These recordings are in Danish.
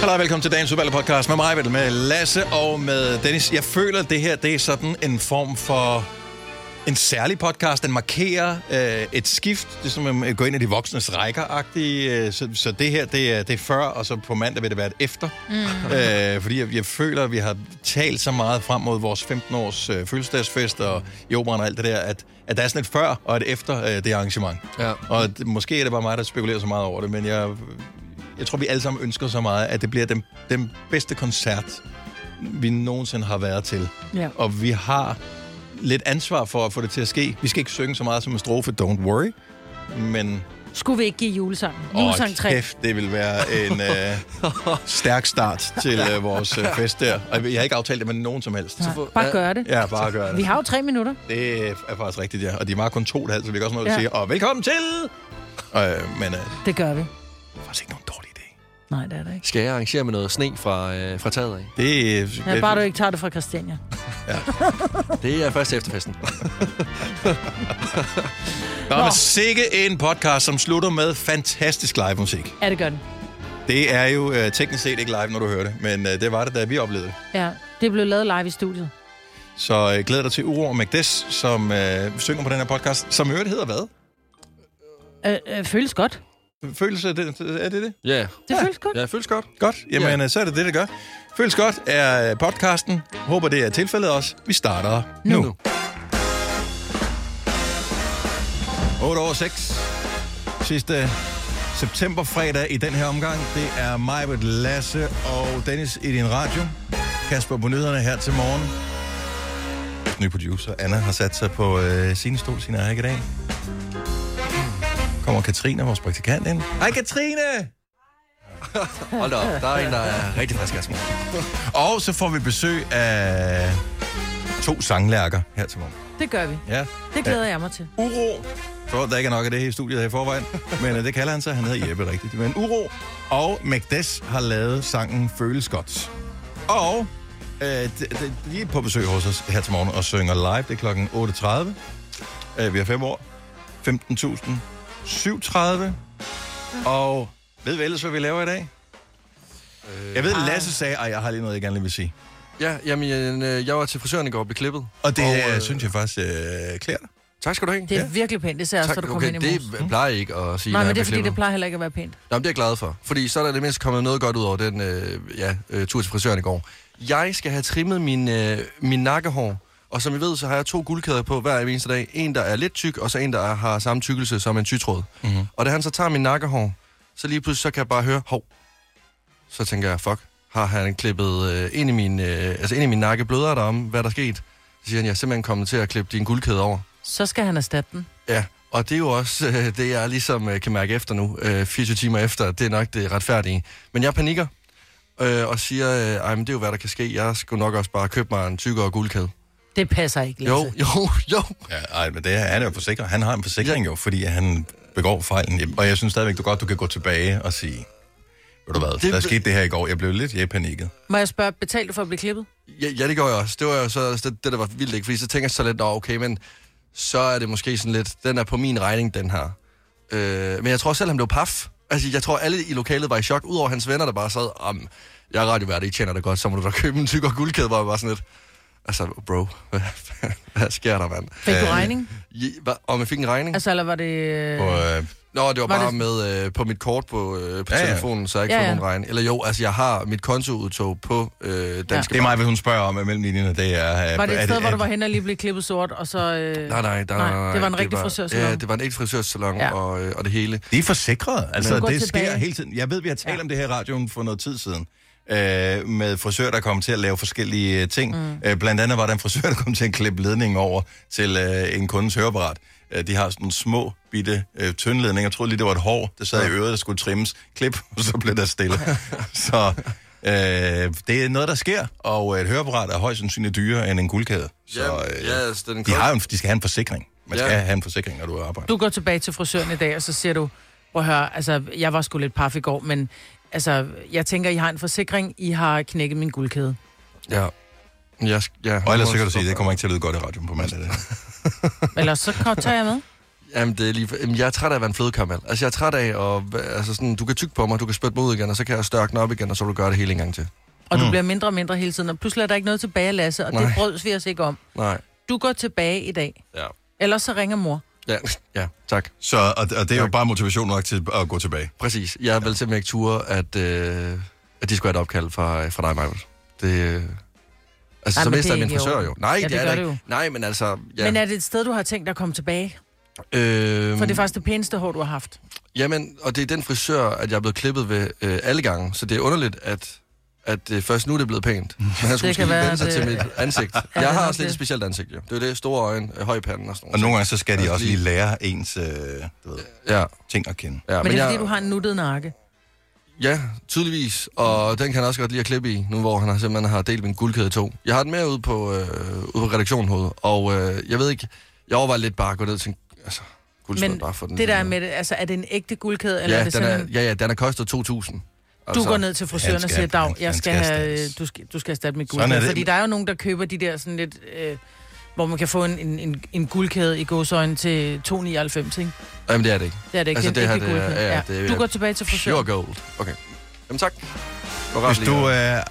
Hallo, velkommen til dagens udvalgte podcast med mig, med Lasse og med Dennis. Jeg føler, at det her det er sådan en form for en særlig podcast. Den markerer øh, et skift. Det er som at gå ind i de voksnes rækker øh, så, så det her, det er, det er før, og så på mandag vil det være et efter. Mm. Øh, fordi jeg, jeg føler, at vi har talt så meget frem mod vores 15-års øh, fødselsdagsfest og i operan og alt det der, at, at der er sådan et før og et efter øh, det arrangement. Ja. Og det, måske er det bare mig, der spekulerer så meget over det, men jeg, jeg tror, vi alle sammen ønsker så meget, at det bliver den, den bedste koncert, vi nogensinde har været til. Ja. Og vi har lidt ansvar for at få det til at ske. Vi skal ikke synge så meget som en strofe, don't worry, men Skulle vi ikke give julesangen? åh, Julesang 3. kæft, det vil være en øh, stærk start til øh, vores øh, fest der. Og jeg har ikke aftalt det med nogen som helst. Nej, bare gør det. Ja, bare gør Vi det. har jo tre minutter. Det er faktisk rigtigt, ja. Og de er meget kun to, der altså, vi kan også noget at Ja. sige, og velkommen til! Øh, men øh, det Det gør vi. er faktisk ikke nogen dårlig idé. Nej, det er det ikke. Skal jeg arrangere med noget sne fra, øh, fra taget af? Det, øh, Ja, bare du ikke tager det fra Christiania. Det er først til efterfesten. Nå, Nå. men sikke en podcast, som slutter med fantastisk live musik. Ja, det gør den. Det er jo øh, teknisk set ikke live, når du hører det, men øh, det var det, da vi oplevede det. Ja, det blev lavet live i studiet. Så øh, glæder dig til Uro og Magdes, som øh, synger på den her podcast, som i øvrigt hedder hvad? Øh, øh, føles godt. Følelse, er det er det? det? Ja, Det føles godt. ja føles godt. Godt, jamen Ja. yeah. så er det det, det gør. Føles godt er øh, podcasten. Håber, det er tilfældet også. Vi starter nu. nu. Nu. 8 over 6. Sidste septemberfredag i den her omgang. Det er mig, med Lasse og Dennis i din radio. Kasper på nyhederne her til morgen. Ny producer Anna har sat sig på øh, sin stol, sin ejer i dag. Kommer Katrine, vores praktikant, ind. Hej Katrine! Hold da op, der er en, der er rigtig frisk af Og så får vi besøg af to sanglærker her til morgen. Det gør vi. Ja. Det glæder jeg mig til. Uro. Så der ikke er nok af det her i studiet her i forvejen. Men øh, det kalder han sig. Han hedder Jeppe rigtigt. Men Uro og Magdes har lavet sangen Føles Godt. Og øh, de, de, de er på besøg hos os her til morgen og synger live. Det er klokken 8.30. Øh, vi har fem år. 15.000. 7.30. Og ved vi ellers, hvad vi laver i dag? Jeg ved, Lasse sagde, at jeg har lige noget, jeg gerne lige vil sige. Ja, jamen, øh, jeg var til frisøren i går og blev klippet. Og det Og, og, øh, øh, synes jeg faktisk øh, klæder dig. Tak skal du have. Det er virkelig pænt. Det ser jeg også, da du kommer okay, ind i morges. det plejer jeg ikke at sige, Nej, når men det jeg er bliver fordi, det klippet. plejer heller ikke at være pænt. Nå, men det er jeg glad for. Fordi så er der i det mindste kommet noget godt ud over den øh, ja, øh, tur til frisøren i går. Jeg skal have trimmet min, øh, min nakkehår. Og som I ved, så har jeg to guldkæder på hver eneste dag. En, der er lidt tyk, og så en, der er, har samme tykkelse som en tytråd. Mm-hmm. Og da han så tager min nakkehår, så lige pludselig så kan jeg bare høre, hov. Så tænker jeg, fuck, har han klippet øh, ind, i min, øh, altså ind i min nakke blødere derom, hvad er der sket? Så siger han, jeg er simpelthen kommet til at klippe din guldkæde over. Så skal han erstatte den. Ja, og det er jo også øh, det, jeg ligesom øh, kan mærke efter nu, øh, 24 timer efter, det er nok det retfærdige. Men jeg panikker øh, og siger, øh, ej, men det er jo, hvad der kan ske. Jeg skulle nok også bare købe mig en tykkere guldkæde. Det passer ikke, Lasse. Jo, jo, jo. Ja, ej, men det er han er jo forsikret. Han har en forsikring jo, fordi han begår fejlen. Jamen, Og jeg synes stadigvæk, du godt du kan gå tilbage og sige, ved du hvad, det... Det- der skete det her i går. Jeg blev lidt jeg panikket. Må jeg spørge, betalte du for at blive klippet? Ja, ja, det gør jeg også. Det var jo så også det, det, der var vildt, ikke? Fordi så tænker jeg så lidt, nå, okay, men så er det måske sådan lidt, den er på min regning, den her. Øh, men jeg tror selv, han blev paf. Altså, jeg tror, alle i lokalet var i chok, udover hans venner, der bare sad, om jeg er radiovært, I tjener det godt, så må du da købe en tykkere guldkæde, hvor jeg var sådan lidt, altså, bro, hvad, hvad sker der, mand? Fik du Øh, regning? I, hva, om jeg fik en regning? Altså, Altså, eller var det... Og, øh, Nå, det var, var bare det- med øh, på mit kort på, øh, på Ja, ja, ja. telefonen, så jeg ikke Ja, ja, ja. nogen regning. Eller jo, altså, jeg har mit kontoudtog på øh, Danske det er mig, hvad hun spørger om mellem linjerne. Det er, øh, Var det et er sted, hvor er- du var henne og lige blev klippet sort, og så... Øh... Nej, nej, nej, Nej, nej, nej. det var en rigtig frisørsalon. Ja, det var en ægte frisørsalon Ja. ja. og, øh, og det hele. De er forsikret. Altså, Men- Gå det tilbage. sker hele tiden. Jeg ved, vi har talt Ja. om det her i radioen for noget tid siden. Øh, med frisører, der kom til at lave forskellige øh, ting. Mm. Øh, blandt andet var der en frisør, der kom til at klippe ledningen over til øh, en kundes høreapparat. Øh, de har sådan nogle små, bitte, øh, tynde ledninger. Jeg troede lige, det var et hår, der sad i øret, der skulle trimmes. Klip, og så blev der stille. så øh, det er noget, der sker. Og øh, et høreapparat er højst sandsynligt dyrere end en guldkæde. Så øh, Jamen, ja, altså, den de, kost- har jo en, de skal have en forsikring. Man skal Ja. have en forsikring, når du arbejder. Du går tilbage til frisøren i dag, og så siger du, prøv at høre, altså, jeg var sgu lidt paf i går, men altså, jeg tænker, I har en forsikring, I har knækket min guldkæde. Ja. Jeg, sk- ja Og ellers så kan du sige, det kommer ikke til at lyde godt i radioen på mandag. Det. Ellers så kom- tager jeg med. Jamen, det er lige, for- jamen, jeg er træt af at være en flødekaramel. Altså, jeg er træt af, og, altså, sådan, du kan tygge på mig, du kan spytte mig ud igen, og så kan jeg størke den op igen, og så vil du gøre det hele en gang til. Og du bliver mindre og mindre hele tiden, og pludselig er der ikke noget tilbage, Lasse, og Nej. det Mm. Nej. brøds vi os ikke om. Nej. Du går tilbage i dag, Ja. ellers så ringer mor. Ja, ja tak. Så, og, og det er jo bare motivation nok til at gå tilbage. Præcis. Jeg vil simpelthen ikke ture, at, øh, at de skulle have et opkald fra, fra dig, Michael. Det, øh, altså, Ej, så men det mister er jeg min ikke i frisør orden. jo. Nej, Ja, det det, er gør der det ikke. Nej, men altså... Ja. Ja. Men er det et sted, du har tænkt at komme tilbage? øhm, For det er faktisk det pæneste hår, du har haft. Jamen, og det er den frisør, at jeg er blevet klippet ved øh, alle gange, så det er underligt, at, at øh, først nu er det blevet pænt. Men han skulle Det kan måske være, vende sig det- til mit ansigt. Ja, jeg det har er også lidt det. et specielt ansigt, jo. Det er jo det, store øjne, øh, høj panden og sådan Og noget. nogle gange, så skal de Altså, også lige- lige lære ens øh, du ved, Ja, ting at kende. ja, Men, men det er jeg, fordi, du har en nuttet nakke. Ja, tydeligvis. Og den kan han også godt lide at klippe i, nu hvor han har simpelthen har delt min guldkæde i to. Jeg har den med ude på, øh, ude på redaktionen hoved, og øh, jeg ved ikke, jeg overvejer lidt bare at gå ned til en, altså, guldskål, Men bare for den. Det der lige- er med det, altså er det en ægte guldkæde, eller er ja, det den sådan er, en... ja, ja, den har kostet 2.000. Du Altså, går ned til frisøren han og skal- siger, Dag, han- jeg han skal skal have, øh, erstattes." du, skal, du skal erstatte mit Sådan er guldkæde. det. Fordi der er jo nogen, der køber de der sådan lidt... Øh, hvor man kan få en, en, en, en guldkæde i godsøjne til 2,99, ikke? Det Jamen, det er det ikke. er det ikke. Altså, det, det her, ikke det er- guldkæde. ja, det er- Du går tilbage til frisøren. Pure gold. Okay. Jamen, tak. Det var rart Hvis lige du at- øh,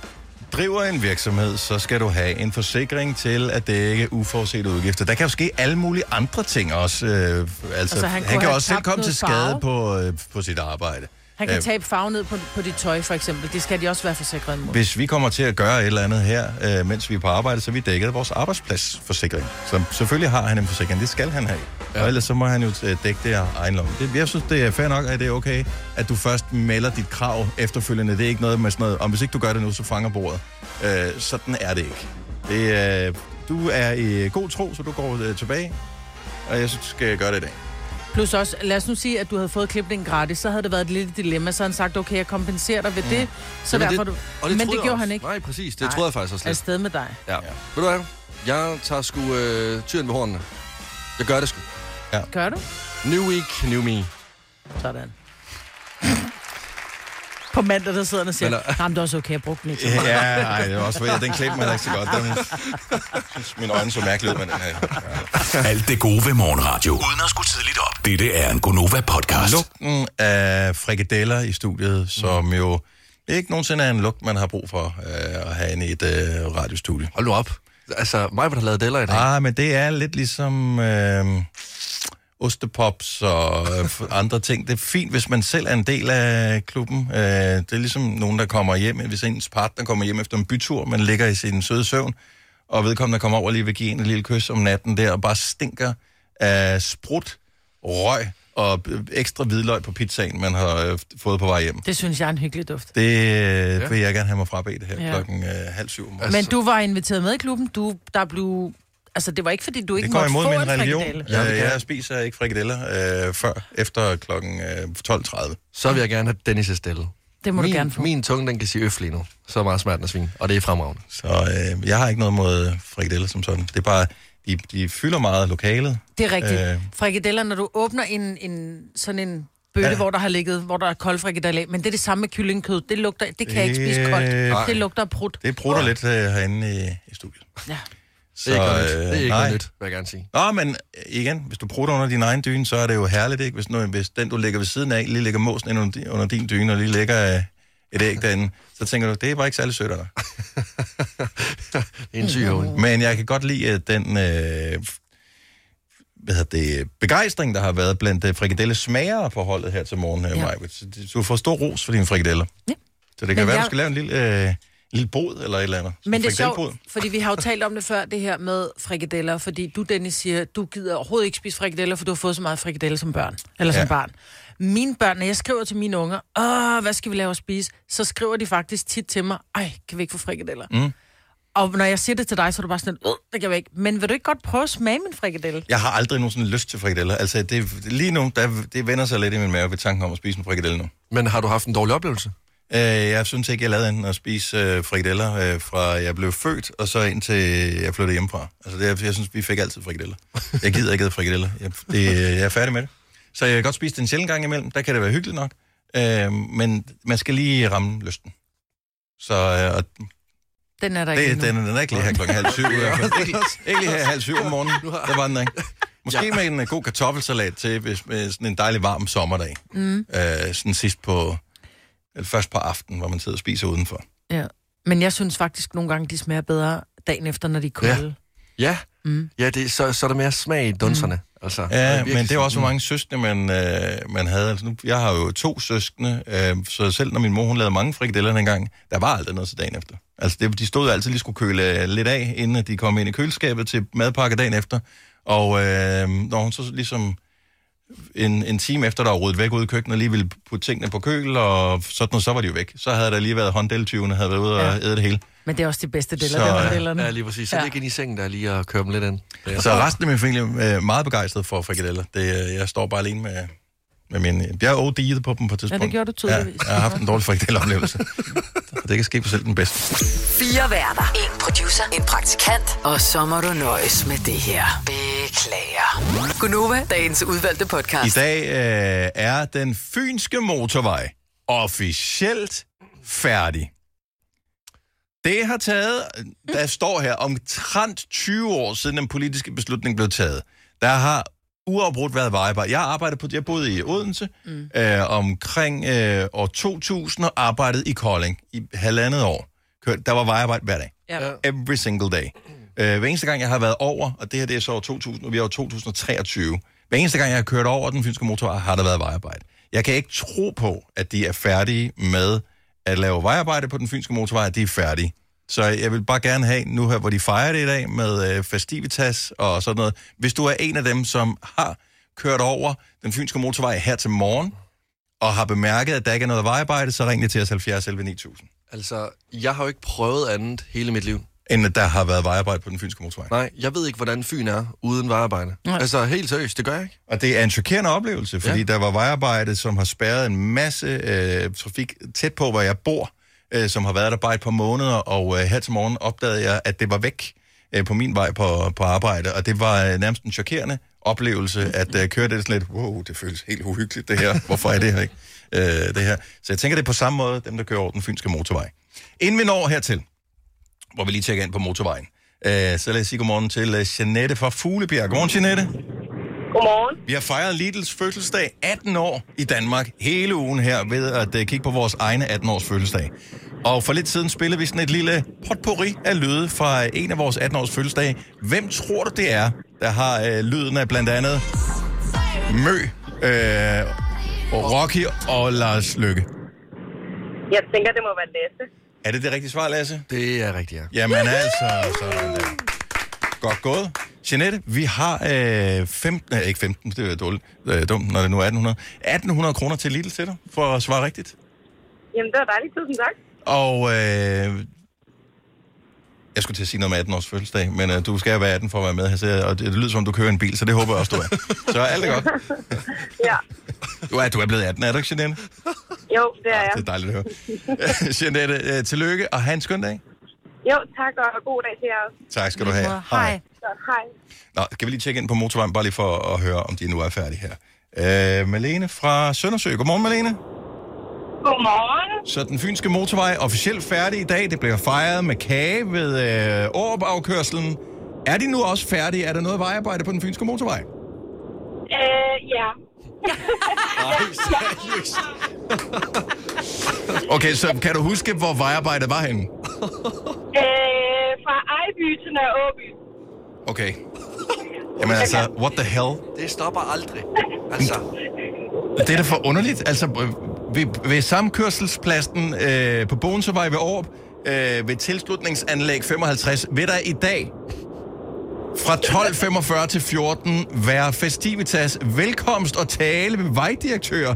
driver en virksomhed, så skal du have en forsikring til at dække uforudsete udgifter. Der kan jo ske alle mulige andre ting også. Øh, altså, altså, han han, kunne han kan have også selv tabt komme noget til skade på, øh, på sit arbejde. Han kan Øh, tabe farve ned på, på dit tøj, for eksempel. Det skal de også være forsikret imod. Hvis vi kommer til at gøre et eller andet her, øh, mens vi er på arbejde, så er vi dækket af vores arbejdspladsforsikring. Så selvfølgelig har han en forsikring, det skal han have. Ja. Og ellers så må han jo øh, dække det af egen lomme. Det, jeg synes, det er fair nok, at det er okay, at du først melder dit krav efterfølgende. Det er ikke noget med sådan noget, om hvis ikke du gør det nu, så fanger bordet. Øh, sådan er det ikke. Det, øh, du er i god tro, så du går øh, tilbage. Og jeg synes, du skal gøre det i dag. Plus også, lad os nu sige, at du havde fået klipningen gratis, så havde det været et lille dilemma. Så havde han sagt, okay, jeg kompenserer dig ved det, så Jamen, derfor du... og Men troede det jeg gjorde også. han ikke. Nej, præcis. Det Nej. troede jeg faktisk også er lidt. afsted med dig. Ja. ja. Ved du hvad? Jeg tager sgu øh, tyren ved hornene. Jeg gør det sgu. Gør du? New week, new me. Sådan. På mandag, der sidder han og siger, Eller- jamen det er også okay, jeg brugte den ikke. Ja, ej, det var også fordi, den klippede mig ikke så godt. Den, synes, mine øjne så mærkeligt ud med den her. Ja. Alt det gode ved morgenradio. Uden at skulle tidligt op. Dette er en Gonova-podcast. Lugten af frikadeller i studiet, som Mm. jo ikke nogensinde er en lugt, man har brug for øh, at have inde i et øh, radiostudie. Hold nu op. Altså, mig har lavet deller i dag. Ah, men det er lidt ligesom øh, ostepops og øh, f- andre ting. Det er fint, hvis man selv er en del af klubben. Øh, det er ligesom nogen, der kommer hjem, hvis ens partner kommer hjem efter en bytur, man ligger i sin søde søvn, og vedkommende kommer over og lige vil give en et lille kys om natten der, og bare stinker af sprut, røg og øh, ekstra hvidløg på pizzaen, man har øh, fået på vej hjem. Det synes jeg er en hyggelig duft. Det øh, vil jeg gerne have mig frabedt her Ja. klokken øh, halv syv om morgenen. Men du var inviteret med i klubben, du, der blev... Altså, det var ikke, fordi du ikke Det går måtte imod få min en religion. frikadelle. Ja, det Øh, kan jeg jeg. spiser ikke frikadeller øh, før efter klokken øh, 12.30. Så vil jeg gerne have Dennis' stille. Det må du min, gerne få. Min tunge, den kan sige øf lige nu. Så meget smerten af svin. Og det er fremragende. Så øh, jeg har ikke noget mod øh, frikadeller som sådan. Det er bare, de, de fylder meget af lokalet. Det er rigtigt. Øh. Øh... Frikadeller, når du åbner en, en sådan en bøtte, Ja. ja. hvor der har ligget, hvor der er kold frikadelle af, men det er det samme med kyllingkød. Det lugter, det kan jeg ikke spise Øh, koldt. nej. Det lugter af prut. Det bruger oh. lidt øh, herinde i, i studiet. Ja. Så, Det er ikke noget nyt. Det øh, er ikke nej. noget nyt, vil jeg gerne sige. Nå, men øh, igen, hvis du bruger under din egen dyne, så er det jo herligt, ikke? Hvis, nu, hvis den, du ligger ved siden af, lige ligger måsen ind under, di- under din dyne, og lige ligger øh, et æg derinde, så tænker du, det er bare ikke særlig sødt af dig. En syg hoved. Men jeg kan godt lide øh, den øh, hvad hedder det, begejstring, der har været blandt øh, frikadellesmagere på holdet her til morgen. Ja. Ja. Maja. Du får stor ros for dine frikadeller. Ja. Så det kan Men være, jeg... jeg- du skal lave en lille, øh, en lille bod eller et eller andet. Sådan en Men det er frikadellebod. sjovt, fordi vi har jo talt om det før, det her med frikadeller, fordi du, Dennis, siger, du gider overhovedet ikke spise frikadeller, for du har fået så meget frikadeller som børn. Eller som Ja. barn. Mine børn, når jeg skriver til mine unger, åh, hvad skal vi lave at spise? Så skriver de faktisk tit til mig, ej, kan vi ikke få frikadeller? Mm. Og når jeg siger det til dig, så er du bare sådan, "Øh, det kan vi ikke. Men vil du ikke godt prøve at smage min frikadelle? Jeg har aldrig nogensinde lyst til frikadeller. Altså, det, lige nu, der, det vender sig lidt i min mave ved tanken om at spise en frikadelle nu. Men har du haft en dårlig oplevelse? Øh, jeg synes ikke, jeg lavede andet end at spise øh, frikadeller, øh, fra jeg blev født, og så indtil jeg flyttede hjemmefra. Altså, det, er- jeg synes, vi fik altid frikadeller. Jeg gider ikke have frikadeller. Jeg, det, øh, jeg er færdig med det. Så jeg kan godt spise det en sjældent gang imellem. Der kan det være hyggeligt nok. Øh, men man skal lige ramme lysten. Så øh, og Den er der ikke det, endnu. den, den er ikke lige her klokken halv syv. i hvert fald. ikke, ikke lige her halv syv om morgenen. Der var den ikke. Måske ja. med en øh, god kartoffelsalat til hvis, med sådan en dejlig varm sommerdag. Mm. Øh, sådan sidst på, eller først på aftenen, hvor man sidder og spiser udenfor. Ja. Men jeg synes faktisk nogle gange, de smager bedre dagen efter, når de er kolde. Ja. Ja, mm. ja det, er- så, så er der mere smag i dunserne. Mm. Altså, Det er Ja, virkelig men det er jo sådan, også, hvor mange søskende man, øh, man havde. Altså, nu, jeg har jo to søskende, øh, så selv når min mor hun lavede mange frikadeller dengang, der var aldrig noget til dagen efter. Altså, det, de stod altid lige skulle køle øh, lidt af, inden at de kom ind i køleskabet til madpakke dagen efter. Og øh, når hun så ligesom en, en time efter, der var ryddet væk ude i køkkenet, lige ville putte tingene på køl, og sådan noget, så var de jo væk. Så havde der lige været hånddeltyvene, havde været ude og æde det hele. Men det er også de bedste deller, Så, så, ja. der Ja, dellerne. lige præcis. Så ja. Ja. ligger ind i sengen der lige og kører dem lidt ind. Ja. Så resten af min familie er øh, meget begejstret for frikadeller. Det, øh, jeg står bare alene med, med min... Jeg OD'ede på dem på et tidspunkt. gjorde du tydeligvis. Ja, jeg har haft en dårlig frikadelleoplevelse. Og det kan ske for selv den bedste. Fire værter. En producer. En praktikant. Og så må du nøjes med det her. Beklager. Gunova, dagens udvalgte I podcast. dag øh, er den fynske motorvej officielt færdig. Det har taget, der står her, omtrent 20 år siden den politiske beslutning blev taget. Der har uafbrudt været vejarbejde. Jeg arbejdede på, jeg boede i Odense mm. øh, omkring øh, år 2000 og arbejdede i Kolding i halvandet år. Kørte, der var vejarbejde hver dag. Ja. Every single day. Øh, hver eneste gang, jeg har været over, og det her det er så år 2000, og vi er år 2023. Hver eneste gang, jeg har kørt over den fynske motorvej, har der været vejarbejde. Jeg kan ikke tro på, at de er færdige med at lave vejarbejde på den fynske motorvej, at de er færdige. Så jeg vil bare gerne have, nu her, hvor de fejrer det i dag med øh, festivitas og sådan noget. Hvis du er en af dem, som har kørt over den fynske motorvej her til morgen, og har bemærket, at der ikke er noget vejarbejde, så ring lige til os 70 11 9000. Altså, jeg har jo ikke prøvet andet hele mit liv. Inden der har været vejarbejde på den fynske motorvej. Nej, jeg ved ikke, hvordan Fyn er uden vejarbejde. Mm. Nej. Altså, helt seriøst, det gør jeg ikke. Og det er en chokerende oplevelse, fordi ja. Ja. der var vejarbejde, som har spærret en masse øh, trafik tæt på, hvor jeg bor, øh, som har været der bare et par måneder, og øh, her til morgen opdagede jeg, at det var væk øh, på min vej på, på arbejde, og det var øh, nærmest en chokerende oplevelse, at øh, køre det sådan lidt, wow, det føles helt uhyggeligt det her, hvorfor er det her ikke? Øh, det her. Så jeg tænker, det er på samme måde, dem der kører over den fynske motorvej. Inden vi når hertil, hvor vi lige tjekker ind på motorvejen, øh, så lad os sige godmorgen til øh, Jeanette fra Fuglebjerg. Godmorgen, Jeanette. Godmorgen. Vi har fejret Lidls fødselsdag 18 år i Danmark hele ugen her ved at uh, kigge på vores egne 18-års fødselsdag. Og for lidt siden spillede vi sådan et lille potpourri af lyde fra øh, en af vores 18-års fødselsdage. Hvem tror du det er, der har uh, lyden af blandt andet Mø, øh, og Rocky og Lars Lykke? Jeg tænker, det må være Lasse. Er det det rigtige svar, Lasse? Det er rigtigt, ja. Jamen altså, sådan der. Godt gået. Jeanette, vi har øh, 15, øh, ikke 15, det er dårligt, øh, dumt, når det nu er 1800, 1800 kroner til Lidl til dig, for at svare rigtigt. Jamen, det var dejligt. Tusind tak. Og øh, jeg skulle til at sige noget med 18 års fødselsdag, men øh, du skal være 18 for at være med her, så, og det, det lyder som, om du kører en bil, så det håber jeg også, du er. Så alt er godt. Ja. Du er, du er blevet 18, er du ikke, Jeanette? Jo, det er jeg. Ah, Det er dejligt at høre. Jeanette, øh, tillykke, og have en skøn dag. Jo, tak og god dag til jer. også. Tak skal du have. Hej. Så, hej. Nå, skal vi lige tjekke ind på motorvejen, bare lige for at høre, om de nu er færdige her. Øh, Malene fra Søndersø. Godmorgen, Malene. Godmorgen. Så den fynske motorvej er officielt færdig i dag. Det bliver fejret med kage ved øh, Aarup-afkørselen. Er de nu også færdige? Er der noget vejarbejde på den fynske motorvej? Øh, ja. Okay, så kan du huske, hvor vejarbejdet var henne? Øh, fra Ejby til Nørre Åby. Okay. Jamen altså, what the hell? Det stopper aldrig. Altså, Det er da for underligt. Altså, øh, ved, ved samkørselspladsen øh, på Bonsevej ved Aarup, øh, ved tilslutningsanlæg 55, vil der i dag fra 12.45 til 14 være festivitas, velkomst og tale ved vejdirektører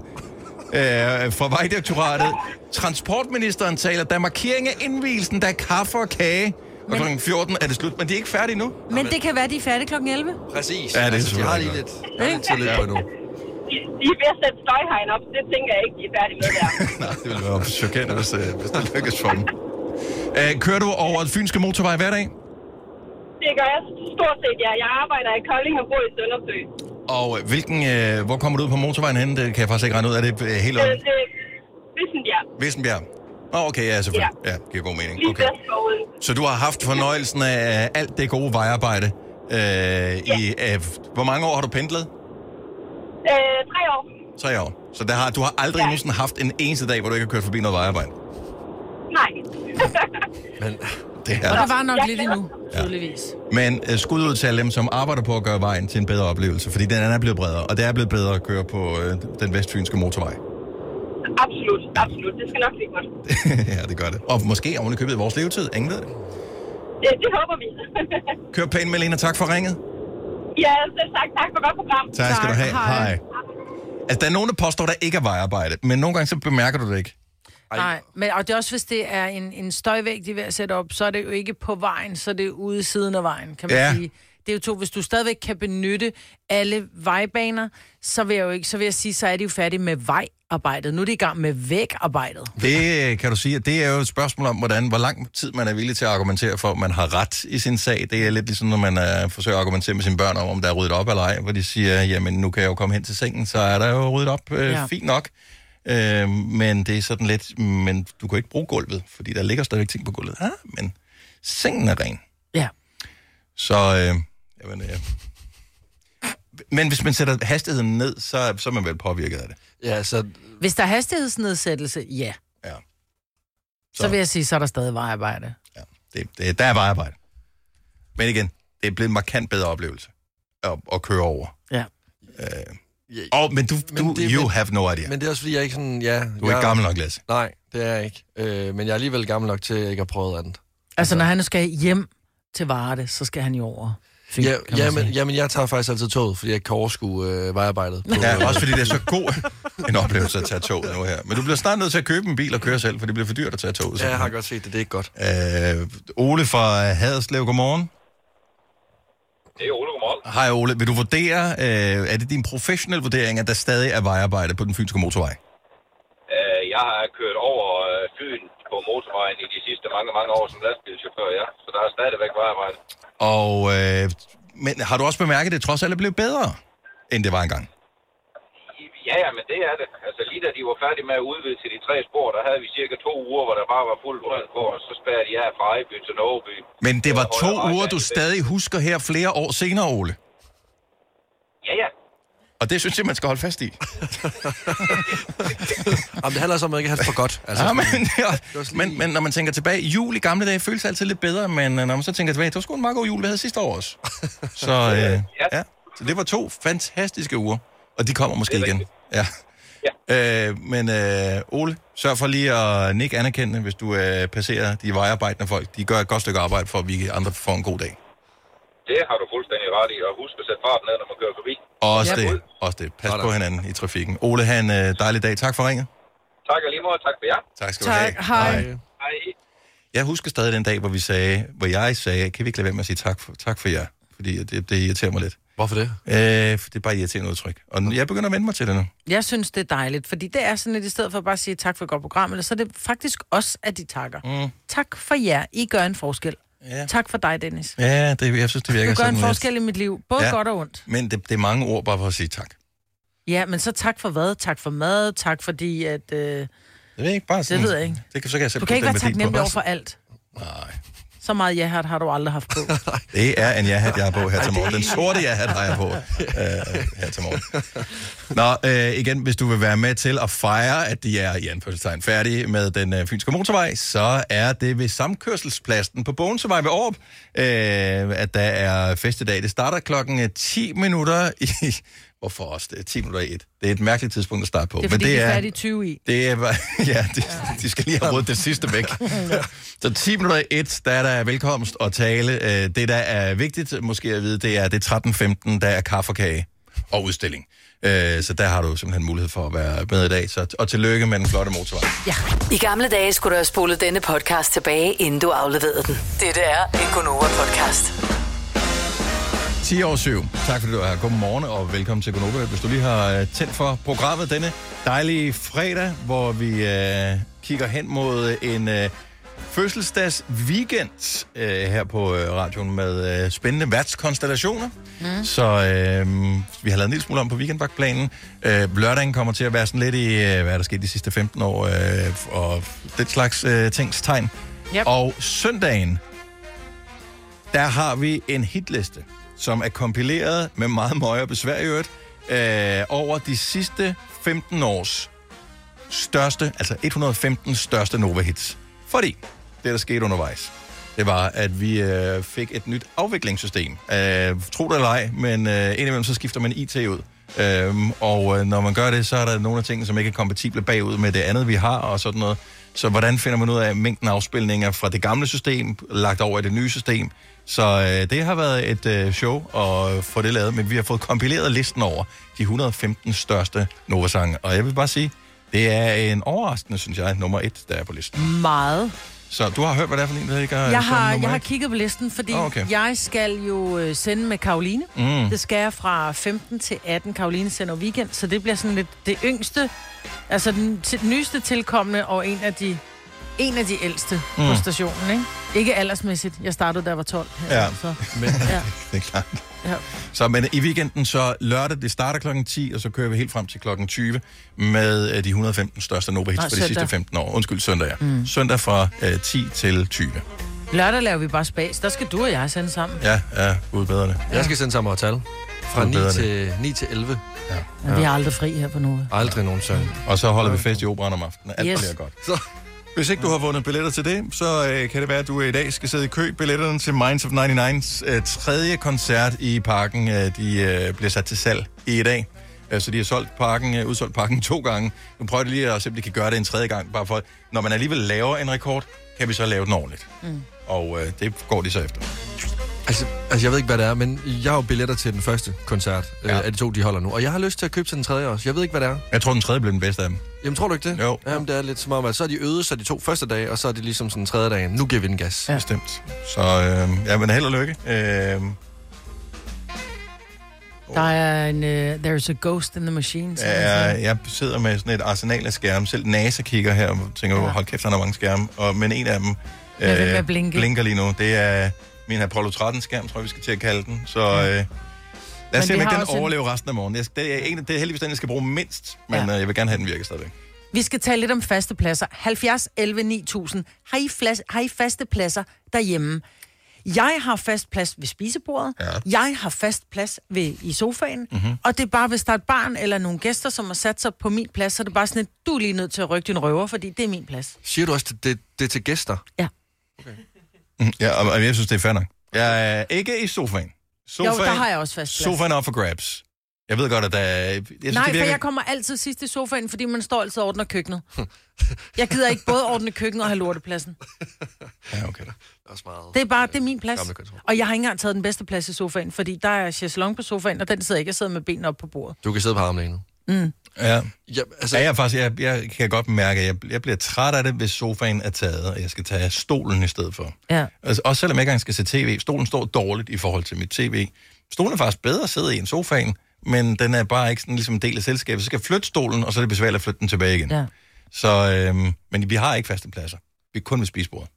øh, fra Vejdirektoratet. Transportministeren taler, der er markering af indvielsen, der er kaffe og kage. Og kl. 14 er det slut, men de er ikke færdige nu. Men det kan være, de er færdige kl. 11. præcis. Ja, det er altså, jeg har lige selvfølgelig lidt, jeg har lidt tid lidt på endnu. De, de er ved at sætte støjhegn op, så det tænker jeg ikke, de er færdige med der. Nej, det ville være chokerende, hvis, øh, hvis det lykkes for dem. Øh, kører du over den fynske motorvej hver dag? Det gør jeg stort set, ja. Jeg arbejder i Kolding og bor i Søndersø. Og øh, hvilken, øh, hvor kommer du ud på motorvejen henne? Det kan jeg faktisk ikke regne ud. Er det øh, helt Øh, øh, det er Vissenbjerg. Vissenbjerg? Åh, oh, okay, ja, selvfølgelig. Ja. ja, giver god mening. Lige Okay. vest for Odense. Så du har haft fornøjelsen af alt det gode vejarbejde Øh, i, øh, hvor mange år har du pendlet? Øh, tre år. Tre år. Så der har, du har aldrig Ja. ja. nogensinde haft en eneste dag, hvor du ikke har kørt forbi noget vejarbejde. Nej. Men Det Og er der var nok Jeg lidt glæder endnu, tydeligvis. Men øh, skud ud til alle dem, som arbejder på at gøre vejen til en bedre oplevelse, fordi den er blevet bredere, og det er blevet bedre at køre på øh, den vestfynske motorvej. absolut, absolut. Det skal nok blive godt. ja, det gør det. Og måske oven i købet i vores levetid. Ingen ved det. Det, det håber vi. Kør pænt, Melina. Tak for ringet. ja, selv tak. Tak for godt program. Tak, skal du Tak, have. hej. Altså, der er nogen, der påstår, der ikke er vejarbejde, men nogle gange så bemærker du det ikke. Ej. Nej, men, og det er også, hvis det er en, en støjvæg, de er ved at sætte op, så er det jo ikke på vejen, så er det jo ude i siden af vejen, kan man Ja. ja. sige. Det er jo to, hvis du stadigvæk kan benytte alle vejbaner, så vil jeg jo ikke, så vil jeg sige, så er de jo færdige med vejarbejdet. Nu er de i gang med vægarbejdet. Det øh, kan du sige, at det er jo et spørgsmål om, hvordan, hvor lang tid man er villig til at argumentere for, at man har ret i sin sag. Det er lidt ligesom, når man øh, forsøger at argumentere med sine børn om, om der er ryddet op eller ej, hvor de siger, jamen nu kan jeg jo komme hen til sengen, så er der jo ryddet op, øh, ja. Ja. fint nok. Øh, men det er sådan lidt, men du kan ikke bruge gulvet, fordi der ligger stadigvæk ting på gulvet. Ja, men sengen er ren. Ja. Så, øh, jamen, øh. Men hvis man sætter hastigheden ned, så, så er man vel påvirket af det. ja, så Hvis der er hastighedsnedsættelse, ja. Ja. Så, Så. så vil jeg sige, så er der stadig vejarbejde. Ja, det, det, der er vejarbejde. Men igen, det er blevet en markant bedre oplevelse at, at køre over. Øh, Ja. ja, Og, men du, Men du det- you men- have no idea. Men det er også fordi, jeg ikke sådan... Ja, du er jeg, ikke gammel nok, Lasse. Nej, det er jeg ikke. Øh, men jeg er alligevel gammel nok til, at jeg ikke har prøvet andet. Altså, når han nu skal hjem til Varde, så skal han jo over. Fyn, Ja, kan man ja, men, sige. ja, men jeg tager faktisk altid toget, fordi jeg ikke kan overskue øh, vejarbejdet. På, Ja, også fordi det er så god en oplevelse at tage toget nu her. Men du bliver snart nødt til at købe en bil og køre selv, for det bliver for dyrt at tage toget. ja, jeg har godt set det. Det er ikke godt. Øh, Ole fra Haderslev, godmorgen. Det er Ole, godmorgen. Hej Ole, vil du vurdere, øh, er det din professionelle vurdering, at der stadig er vejarbejde på den fynske motorvej? Øh, Jeg har kørt over øh, Fyn på motorvejen i de sidste mange, mange år som lastbilchauffør, ja. Så der er stadigvæk vejarbejde. Og, øh, men har du også bemærket, at det trods alt er blevet bedre, end det var engang? Ja, ja, men det er det. Altså lige da de var færdige med at udvide til de tre spor, der havde vi cirka to uger, hvor der bare var fuld brød på, og så spærrede de af fra Ejby til Norgeby. Men det var Og der to uger, ja, du det- stadig husker her flere år senere, Ole. Ja, ja. Og det synes jeg, man skal holde fast i. Jamen, det handler også om, at jeg ikke har haft for godt. Altså, Ja, sådan- men, ja, men, men når man tænker tilbage, jul i gamle dage føles altid lidt bedre, men øh, når man så tænker tilbage, det var sgu en meget god jul, vi havde sidste år også. Så, øh, ja. så det var to fantastiske uger, og de kommer måske Det er igen. Ja. Øh, men øh, Ole, sørg for lige at nikke anerkendende, hvis du øh, passerer de vejarbejdende folk. De gør et godt stykke arbejde for, at vi andre får en god dag. Det har du fuldstændig ret i, og husk at sætte farten ned, når man kører forbi. Ja. Også det. Også det. Pas Sådan. på hinanden i trafikken. Ole, have en øh, dejlig dag. Tak for ringet. Tak og lige måde, tak for jer. Tak skal Tak, du have. hej. Hej. Jeg husker stadig den dag, hvor vi sagde, hvor jeg sagde, kan vi ikke lade være med at sige tak for, tak for jer? Fordi det, det irriterer mig lidt. Hvorfor det? Øh, for det er bare et irriterende udtryk. Og nu, jeg begynder at vende mig til det nu. Jeg synes, det er dejligt, fordi det er sådan lidt, i stedet for bare at sige tak for et godt program, eller så er det faktisk os, at de takker. Mm. Tak for jer. I gør en forskel. Ja. Tak for dig, Dennis. Ja, det, jeg synes, det virker Du gør sådan en lidt. forskel i mit liv, både Ja. ja. godt og ondt. Men det, det er mange ord bare for at sige tak. Ja, men så tak for hvad? Tak for mad, tak fordi, at... Øh, Det ved jeg ikke bare sådan. ved jeg ikke. Mm. Det kan, så kan jeg selv du kan ikke være putte den værdi taknemmelig på. over for alt. Nej. Så meget ja har du aldrig haft på. Det er en ja-hat, jeg har på her til morgen. Den sorte ja-hat har jeg på øh, her til morgen. Nå, øh, igen, hvis du vil være med til at fejre, at de er i anførselstegn færdige med den øh, fynske motorvej, så er det ved samkørselspladsen på Bogenservej ved Aarup, øh, at der er fest i dag. Det starter klokken øh, 10 minutter i... Hvorfor også? Det er 10 minutter i et. Det er et mærkeligt tidspunkt at starte på. Det er fordi, det er... de er færdige 20 i. Det er, ja, de, de skal lige have rådet det sidste væk. Så 10 minutter i 1, der er der velkomst og tale. Øh, Det, der er vigtigt måske at vide, det er, det er 13.15, der er kaffe og kage og udstilling. Øh, Så der har du simpelthen mulighed for at være med i dag. Så, og tillykke med den flotte motorvej. I gamle dage skulle du have spolet denne podcast tilbage, inden du afleverede den. Dette er en Gonova-podcast. 10 over 7. Tak fordi du er her. Godmorgen og velkommen til Gonova. Hvis du lige har øh, tændt for programmet denne dejlige fredag, hvor vi øh, kigger hen mod øh, en øh, fødselsdags weekend øh, her på øh, radioen med øh, spændende værtskonstellationer. Mm. Så øh, vi har lavet en lille smule om på weekendvagtplanen. Øh, lørdagen kommer til at være sådan lidt i, øh, hvad er der sket de sidste 15 år, øh, og den slags øh, tingstegn. Yep. Og søndagen, der har vi en hitliste som er kompileret med meget møje og besvær i øvrigt, øh, over de sidste 15 års største, altså 115 største Nova-hits. Fordi det, der skete undervejs, det var, at vi øh, fik et nyt afviklingssystem. Øh, tro det eller ej, men øh, indimellem så skifter man IT ud. Øhm, og øh, når man gør det, så er der nogle af tingene, som ikke er kompatible bagud med det andet, vi har og sådan noget. Så hvordan finder man ud af mængden af afspilninger fra det gamle system, lagt over i det nye system? Så øh, det har været et øh, show at få det lavet, men vi har fået kompileret listen over de 115 største Nova-sange. Og jeg vil bare sige, det er en overraskende, synes jeg, nummer et, der er på listen. Meget. Så du har hørt, hvad det er for en, der ikke er Jeg som har, nummer jeg har et? kigget på listen, fordi Åh, oh, okay. okay. jeg skal jo øh, sende med Karoline. Mm. Det skal jeg fra 15 til 18. Karoline sender over weekend, så det bliver sådan lidt det yngste, altså den, til, den nyeste tilkommende og en af de en af de ældste mm. på stationen, ikke? Ikke aldersmæssigt. Jeg startede, da jeg var 12. her, Ja. Så. Men, Ja. det er klart. Ja. Så men i weekenden, så lørdag, det starter klokken 10, og så kører vi helt frem til klokken 20 med øh, de 115 største Nova Hits Nej, for de søndag. sidste 15 år. Undskyld, søndag, ja. Mm. Søndag fra øh, 10 til 20. Lørdag laver vi bare spas. Der skal du og jeg sende sammen. Ja, ja, gud bedre det. Jeg skal sende sammen og tal. Fra Det er 9 bedre, til, 9 til 11. Ja. Vi er aldrig fri her på noget. Aldrig nogensinde. Og så holder vi fest i operan om aftenen. Alt yes. Yes. bliver godt. Så Hvis ikke du har vundet billetter til det, så øh, kan det være, at du i dag skal sidde i kø. Billetterne til Minds of 99's øh, tredje koncert i parken, øh, de øh, bliver sat til salg i dag. Øh, Så de har solgt parken, øh, udsolgt parken to gange. Nu prøver de lige at se, om de kan gøre det en tredje gang. Bare for, når man alligevel laver en rekord, kan vi så lave den ordentligt. Mm. Og øh, det går de så efter. Altså, altså, jeg ved ikke, hvad det er, men jeg har jo billetter til den første koncert ja. øh, af de to, de holder nu. Og jeg har lyst til at købe til den tredje også. Jeg ved ikke, hvad det er. Jeg tror, den tredje blev den bedste af dem. Jamen, tror du ikke det? Jo. Jamen, det er lidt som om, at så er de øde, så de to første dage, og så er det ligesom sådan tredje dagen. Nu giver vi den gas. Ja. Bestemt. Så øh, ja, men held og lykke. Øh, Der er en... Uh, there's a ghost in the machine. som man siger. Ja, jeg sidder med sådan et arsenal af skærme. Selv NASA kigger her og tænker, ja. hold kæft, han har mange skærme. Og, men en af dem øh, Ja, den med at blinke. blinker lige nu. Det er min Apollo 13-skærm, tror jeg, vi skal til at kalde den. Så ja. øh, lad os se, om vi ikke har den også en- overlever resten af morgenen. Jeg, det, er en, det er heldigvis den, jeg skal bruge mindst, men Ja. øh, jeg vil gerne have den virker stadigvæk. Vi skal tale lidt om faste pladser. 70, 11, 9000. Har I, flas- har I faste pladser derhjemme? Jeg har fast plads ved spisebordet. Ja. Jeg har fast plads ved, i sofaen. Mhm. Mm-hmm. Og det er bare, hvis der er et barn eller nogle gæster, som har sat sig på min plads, så er det bare sådan, at du er lige nødt til at rykke din røver, fordi det er min plads. Siger du også, det, det, det er til gæster? Ja. Mhm. Ja, og, og jeg synes, det er fair nok. Jeg er ikke i sofaen. sofaen Jo, der har jeg også fast plads. Sofaen er op for grabs. Jeg ved godt, at der... Jeg synes, Nej, det for virker... jeg kommer altid sidst i sofaen, fordi man står altid og ordner køkkenet. Jeg gider ikke både ordne køkkenet og have lortepladsen. Ja, okay. Det er også meget... Det er bare, det er min plads. Gamle kontor. Og jeg har ikke engang taget den bedste plads i sofaen, fordi der er chaiselong på sofaen, og den sidder jeg ikke. Jeg sidder med benene op på bordet. Du kan sidde på armlænet. Mm. Ja. Ja, altså, Ja, ja, jeg, er faktisk, jeg, jeg kan godt mærke, at jeg, jeg bliver træt af det, hvis sofaen er taget, og jeg skal tage stolen i stedet for. Ja. Altså, også selvom jeg ikke engang skal se tv. Stolen står dårligt i forhold til mit tv. Stolen er faktisk bedre at sidde i end sofaen, men den er bare ikke sådan, ligesom en del af selskabet. Så skal jeg flytte stolen, og så er det besværligt at flytte den tilbage igen. Ja. Så, øhm, men vi har ikke faste pladser. Vi er kun ved spisebordet.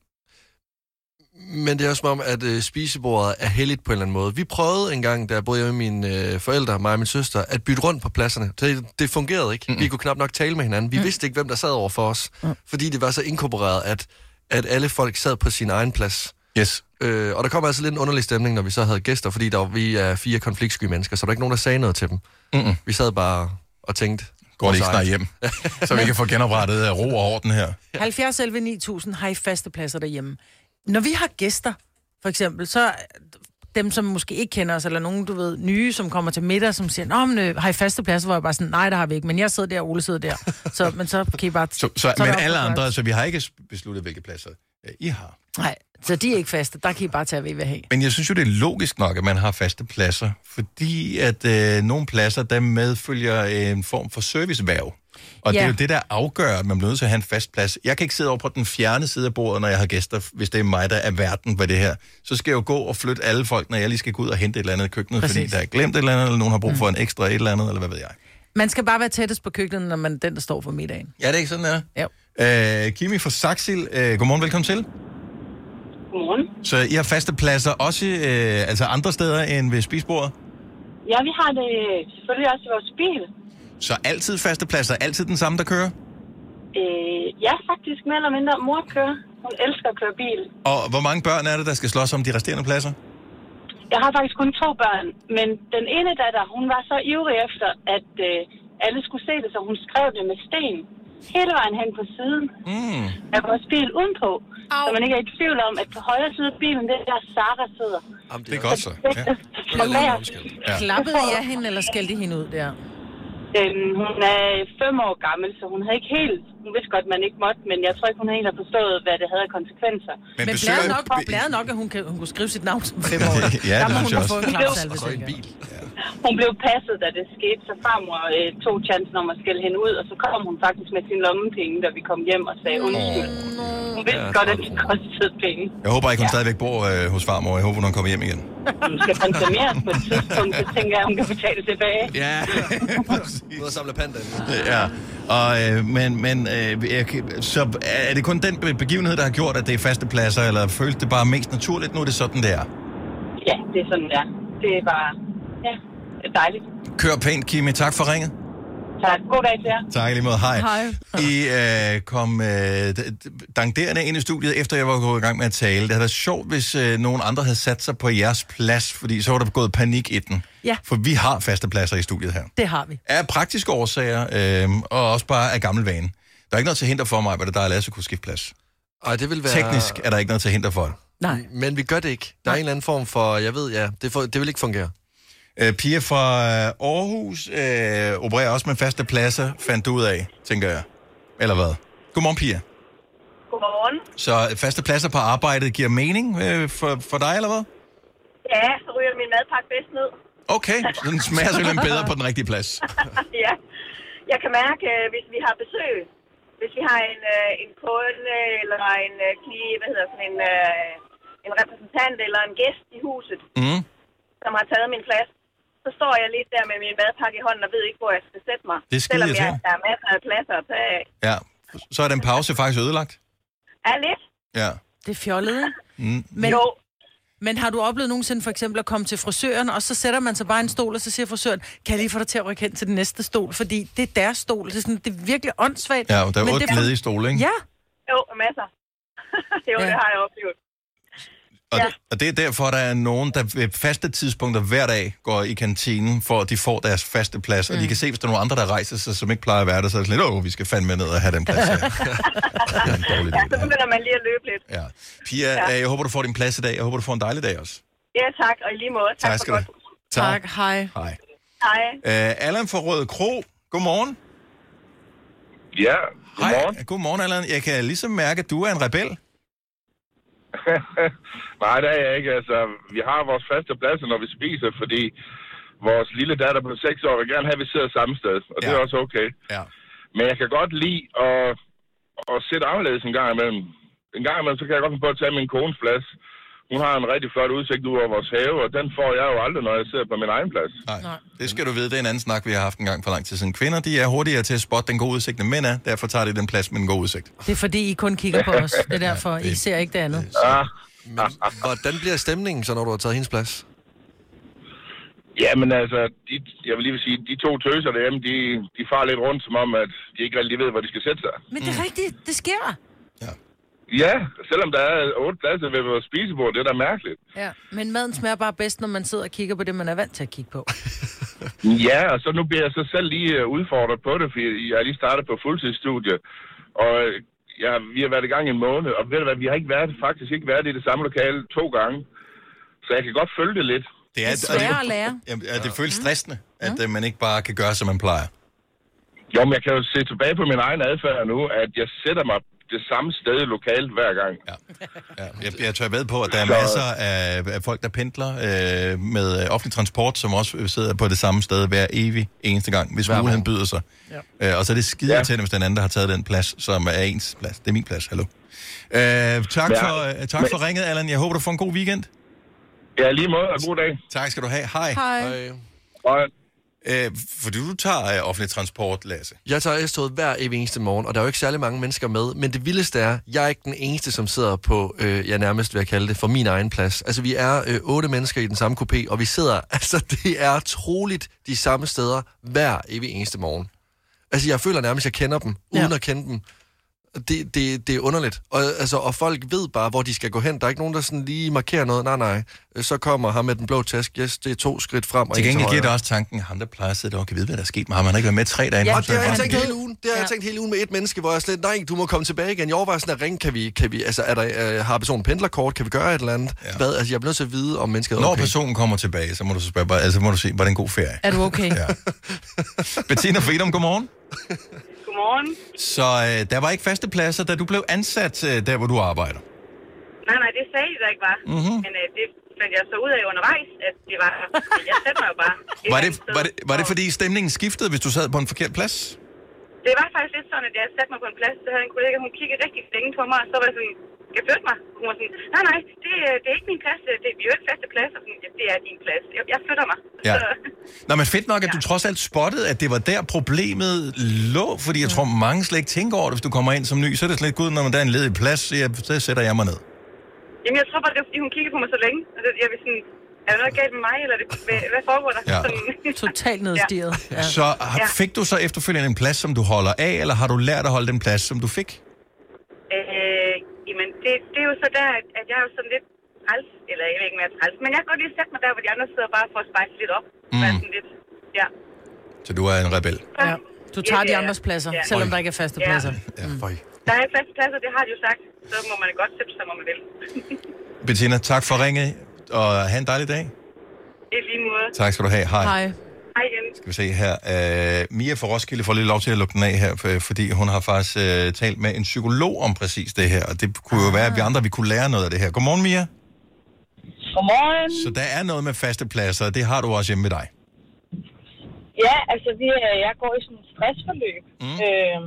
Men det er også som om, at øh, spisebordet er heldigt på en eller anden måde. Vi prøvede engang, da jeg boede hjemme med mine øh, forældre, mig og min søster, at bytte rundt på pladserne. Det, det fungerede ikke. Mm-hmm. Vi kunne knap nok tale med hinanden. Vi mm. vidste ikke, hvem der sad over for os. Mm. Fordi det var så inkorporeret, at, at alle folk sad på sin egen plads. Yes. Øh, og der kom altså lidt en underlig stemning, når vi så havde gæster, fordi der var, vi er fire konfliktsky mennesker, så der var ikke nogen, der sagde noget til dem. Mm-mm. Vi sad bare og tænkte... Går det ikke vores snart eget. hjem, så vi kan få genoprettet øh, ro og orden her. 70 11 9000 har I faste pladser derhjemme. Når vi har gæster, for eksempel, så er dem, som måske ikke kender os, eller nogen, du ved, nye, som kommer til middag, som siger, Nå, men, øh, har I faste pladser, hvor jeg bare sådan, nej, der har vi ikke, men jeg sidder der, og Ole sidder der. Så, men så kan I bare... Så, så, er men der også alle plads. andre, så vi har ikke besluttet, hvilke pladser øh, I har. Nej, så de er ikke faste. Der kan I bare tage ved, hvad I har. Men jeg synes jo, det er logisk nok, at man har faste pladser, fordi at øh, nogle pladser, der medfølger øh, en form for serviceværv. Og ja. det er Ja. jo det, der afgør, at man bliver nødt til at have en fast plads. Jeg kan ikke sidde over på den fjerne side af bordet, når jeg har gæster, hvis det er mig, der er verden på det her. Så skal jeg jo gå og flytte alle folk, når jeg lige skal gå ud og hente et eller andet i køkkenet, Præcis. fordi Præcis. der er glemt et eller andet, eller nogen har brug for en ekstra et eller andet, eller hvad ved jeg. Man skal bare være tættest på køkkenet, når man er den, der står for middagen. Ja, det er ikke sådan, det Ja. er. Øh, Kimi fra Saxil, øh, godmorgen, velkommen til. Godmorgen. Så I har faste pladser også øh, altså andre steder end ved spisbordet? Ja, vi har det øh, selvfølgelig også i vores bil. Så altid faste pladser, altid den samme, der kører? Øh, ja, faktisk mere eller mindre. Mor kører. Hun elsker at køre bil. Og hvor mange børn er det, der skal slås om de resterende pladser? Jeg har faktisk kun to børn, men den ene datter, hun var så ivrig efter, at øh, alle skulle se det, så hun skrev det med sten hele vejen hen på siden Mm. af vores bil udenpå. Au. Så man ikke er i tvivl om, at på højre side af bilen, det er der Sara sidder. Jamen, Det er godt så. Ja. Og Jeg bag, laver en forskel. Ja. Klappede jeg hende, eller skældte I hende ud der? øhm, hun er fem år gammel, så hun havde ikke helt... Hun vidste godt, man ikke måtte, men jeg tror ikke, hun helt har forstået, hvad det havde af konsekvenser. Men, men besøger- blæret nok, var blæret nok, at hun, kan, hun kunne skrive sit navn som fem år. Ja, det der må synes hun jeg have også. fået en klapsalve, Og så en tænker jeg. bil. Hun blev passet, da det skete, så farmor øh, tog chancen om at skælde hende ud, og så kom hun faktisk med sin lommepenge, da vi kom hjem og sagde undskyld. Hun vidste Ja, godt, at træt det mor. kostede penge. Jeg håber ikke, hun stadigvæk bor øh, hos farmor. Jeg håber, hun kommer hjem igen. Hun skal konsumeres på et tidspunkt, så tænker jeg, at hun kan betale tilbage. Ja, præcis. Ud og samle pandaen. Ja, og, øh, men, men øh, jeg, kan- så er det kun den be- begivenhed, der har gjort, at det er faste pladser, eller føles det bare mest naturligt, nu er det sådan, det er? Ja, det er sådan, der. Det var ja, dejligt. Kør pænt, Kimi. Tak for ringet. Tak. God dag til jer. Tak i lige måde. Hej. Hej. I øh, kom øh, d- d- danderende ind i studiet, efter jeg var gået i gang med at tale. Det havde været sjovt, hvis øh, nogen andre havde sat sig på jeres plads, fordi så var der gået panik i den. Ja. For vi har faste pladser i studiet her. Det har vi. Af praktiske årsager, øh, og også bare af gammel vane. Der er ikke noget til hinder for mig, hvad der er Lasse kunne skifte plads. Ej, det vil være... Teknisk er der ikke noget til hinder for det. Nej. Men vi gør det ikke. Der er en eller anden form for... Jeg ved, ja. Det, for, det vil ikke fungere. Øh, Pia fra øh, Aarhus øh, opererer også med faste pladser, fandt du ud af, tænker jeg. Eller hvad? Godmorgen, Pia. Godmorgen. Så øh, faste pladser på arbejdet giver mening øh, for, for dig, eller hvad? Ja, så ryger min madpakke bedst ned. Okay, så den smager selvfølgelig bedre på den rigtige plads. ja. Jeg kan mærke, øh, hvis vi har besøg, hvis vi har en, øh, en kunde eller en øh, kli- hvad hedder sådan en, øh, en repræsentant eller en gæst i huset, Mm. som har taget min plads, så står jeg lidt der med min madpakke i hånden og ved ikke, hvor jeg skal sætte mig. Det er skide Selvom jeg, irriterende. der er masser af pladser at tage af. Ja, så er den pause faktisk ødelagt. Er lidt? Ja. Det er fjollet, ikke? Mm. Men, Jo. men har du oplevet nogensinde for eksempel at komme til frisøren, og så sætter man sig bare i en stol, og så siger frisøren, kan jeg lige få dig til at rykke hen til den næste stol? Fordi det er deres stol. Det er, sådan, det er virkelig åndssvagt. Ja, og der er Men otte det- ledige stole, ikke? Ja, Jo, masser. jo, Ja. det har jeg oplevet. Og, Ja. og det er derfor, der er nogen, der ved faste tidspunkter hver dag går i kantinen, for at de får deres faste plads. Mm. Og de kan se, hvis der er nogen andre, der rejser sig, som ikke plejer at være der, så er det sådan lidt, åh, vi skal fandme ned og have den plads her. det er en dårlig Ja, så idé, det her. begynder man lige at løbe lidt. Ja. Pia, ja. jeg håber, du får din plads i dag. Jeg håber, du får en dejlig dag også. Ja, tak. Og i lige måde. Tak, Tak for skal du godt. tak. Hej. Hej. Hej. Uh, Allan fra Røde Kro, godmorgen. Ja, godmorgen. Hej. Godmorgen, Allan. Jeg kan ligesom mærke, at du er en rebel. Nej, det er jeg ikke. Altså, vi har vores faste pladser, når vi spiser, fordi vores lille datter på 6 år vil gerne have, at vi sidder samme sted. Og det Ja. er også okay. Ja. Men jeg kan godt lide at, at sætte anderledes en gang imellem. En gang imellem, så kan jeg godt finde på at tage min kones plads. Hun har en rigtig flot udsigt ud over vores have, og den får jeg jo aldrig, når jeg sidder på min egen plads. Nej. Nej. Det skal du vide. Det er en anden snak, vi har haft en gang for lang tid siden. Kvinder, de er hurtigere til at spotte den gode udsigt, end mænd er. Derfor tager de den plads med den gode udsigt. Det er fordi, I kun kigger på os. Det er derfor, I ser ikke det andet. Ah, Men hvordan bliver stemningen så, når du har taget hendes plads? Ja, men altså, de, jeg vil lige vil sige, de to tøser derhjemme, de, de farer lidt rundt, som om, at de ikke rigtig ved, hvor de skal sætte sig. Men det Mm. er rigtigt. Det sker. Ja, selvom der er otte pladser ved vores spisebord, det er da mærkeligt. Ja, men maden smager bare bedst, når man sidder og kigger på det, man er vant til at kigge på. Ja, og så nu bliver jeg så selv lige øh, udfordret på det, fordi jeg er lige startet på fuldtidsstudie, og øh, ja, vi har været i gang i en måned, og ved du hvad, vi har ikke været, faktisk ikke været i det samme lokale to gange, så jeg kan godt følge det lidt. Det er, altså- Det er sværere at lære. Jamen, ja, det føles stressende, at øh, man ikke bare kan gøre, som man plejer. Jo, men jeg kan jo se tilbage på min egen adfærd nu, at jeg sætter mig det samme sted lokalt hver gang. Ja. Ja, jeg, jeg tør ved på, at der er masser af, af folk, der pendler øh, med øh, offentlig transport, som også øh, sidder på det samme sted hver evig eneste gang, hvis Hver muligheden morgen. byder sig. Ja. Øh, og så er det skide Ja. ja. til, hvis den anden der har taget den plads, som er ens plads. Det er min plads, hallo. Øh, tak Ja. for, øh, tak Men- for ringet, Allan. Jeg håber, du får en god weekend. Ja, lige måde, og god dag. Tak skal du have. Hej. Hej. Øh, Og Øh, fordi du tager øh, offentlig transport, Lasse. Jeg tager S-toget hver evig eneste morgen, og der er jo ikke særlig mange mennesker med, men det vildeste er, jeg er ikke den eneste, som sidder på, øh, jeg nærmest vil jeg kalde det, for min egen plads. Altså, vi er øh, otte mennesker i den samme kupé, og vi sidder, altså, det er troligt de samme steder hver evig eneste morgen. Altså, jeg føler nærmest, at jeg kender dem, uden Ja. at kende dem. Det, det, det er underligt. Og, altså, og folk ved bare, hvor de skal gå hen. Der er ikke nogen, der sådan lige markerer noget. Nej, nej. Øh, Så kommer ham med den blå task. Yes, det er to skridt frem og Til en gengæld giver højre. det også tanken, ham der plejer at sidde derovre, kan vide, hvad der er sket med ham. Han har ikke været med i tre dage. Ja, nu, Og så det har han jeg bare- tænkt hele ugen. Det har jeg Ja. tænkt hele ugen med et menneske, hvor jeg slet, nej, du må komme tilbage igen. Jeg overvejer sådan at ringe, kan vi, kan vi altså, er der, øh, har personen pendlerkort, kan vi gøre et eller andet? Ja. Hvad, altså, jeg bliver nødt til at vide, om mennesket er Når okay. personen kommer tilbage, så må du så spørge, bare- altså må du se, var det en god ferie? Er du okay? Ja. Bettina Fredum, godmorgen. Godmorgen. Så øh, der var ikke faste pladser, da du blev ansat øh, der, hvor du arbejder. Nej, nej, det sagde de da ikke, var. Mhm. Mm-hmm. Men øh, det fandt jeg så ud af undervejs, at det var... Jeg satte mig jo bare. et Var andet det, sted. var, det, var det Og fordi stemningen skiftede, hvis du sad på en forkert plads? Det var faktisk lidt sådan, at jeg satte mig på en plads, så havde en kollega, hun kiggede rigtig længe på mig, og så var jeg sådan, jeg flytte mig. Hun var sådan, nej, nej, det, øh, det er ikke min plads, det, vi er jo ikke faste plads. Og sådan, "Ja, det er din plads, jeg, jeg flytter mig. Ja. Så, Nå, men fedt nok, at du trods alt spottede, at det var der problemet lå, fordi jeg tror, mange slet ikke tænker over det. Hvis du kommer ind som ny, så er det slet ikke gud, når man der er en ledig plads, så, jeg, så sætter jeg mig ned. jamen, jeg tror bare, det var, fordi hun kiggede på mig så længe. Og det, jeg var sådan, er der noget galt med mig, eller det, hvad, hvad foregår der? Ja. Sådan, Totalt nedstiget. Ja. Så har- Ja. fik du så efterfølgende en plads, som du holder af, eller har du lært at holde den plads, som du fik? Øh, jamen, det, det er jo så der, at, at jeg er jo sådan lidt træls, eller jeg ved ikke, om jeg er træls, men jeg kan godt lige sætte mig der, hvor de andre sidder bare for at spejse lidt op. Mm. Sådan lidt, ja. Så du er en rebel. ja. Du tager Ja, de ja, ja. andres pladser, Ja. selvom der ikke er faste Ja. pladser. Ja, mm. Der er faste pladser, det har de jo sagt, så må man godt sætte sig, hvor man vil. Bettina, tak for ringet, og have en dejlig dag. I lige måde. Tak skal du have. Hej. Hej. Hej igen. Skal vi se her. Uh, Mia fra Roskilde får lige lov til at lukke den af her, for- fordi hun har faktisk uh, talt med en psykolog om præcis det her, og det kunne jo være, at vi andre vi kunne lære noget af det her. Godmorgen, Mia. Godmorgen. Så der er noget med faste pladser, og det har du også hjemme ved dig. Ja, altså vi, øh, jeg går i sådan et stressforløb, mm. øh,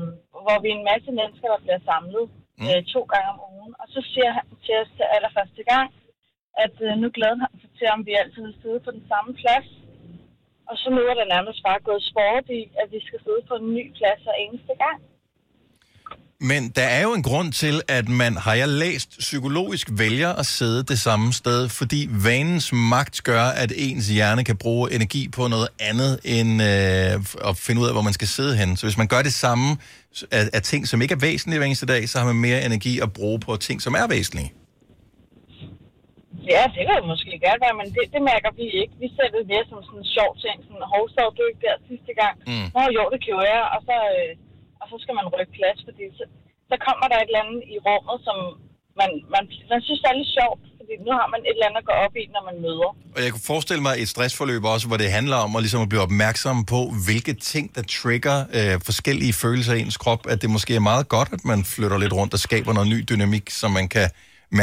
hvor vi er en masse mennesker, der bliver samlet mm. øh, to gange om ugen. Og så siger han til os til allerførste gang, at øh, nu glæder han sig til, om vi altid vil sidde på den samme plads. Og så nu er der nærmest bare gået sport i, at vi skal sidde på en ny plads hver eneste gang. Men der er jo en grund til, at man, har jeg læst, psykologisk vælger at sidde det samme sted, fordi vanens magt gør, at ens hjerne kan bruge energi på noget andet, end øh, f- at finde ud af, hvor man skal sidde henne. Så hvis man gør det samme s- af, af ting, som ikke er væsentlige hver eneste dag, så har man mere energi at bruge på ting, som er væsentlige. Ja, det kan det måske godt være, men det, det mærker vi ikke. Vi ser det mere som sådan en sjov ting. Sådan, hov, så du ikke der sidste gang. Mm. Nå, jo, det kan jo være. Og så, øh, og så skal man rykke plads, fordi så, så kommer der et eller andet i rummet, som man, man, man synes er lidt sjovt. Fordi nu har man et eller andet at gå op i, når man møder. Og jeg kunne forestille mig et stressforløb også, hvor det handler om at, ligesom at blive opmærksom på, hvilke ting, der trigger øh, forskellige følelser i ens krop. At det måske er meget godt, at man flytter lidt rundt og skaber noget ny dynamik, som man kan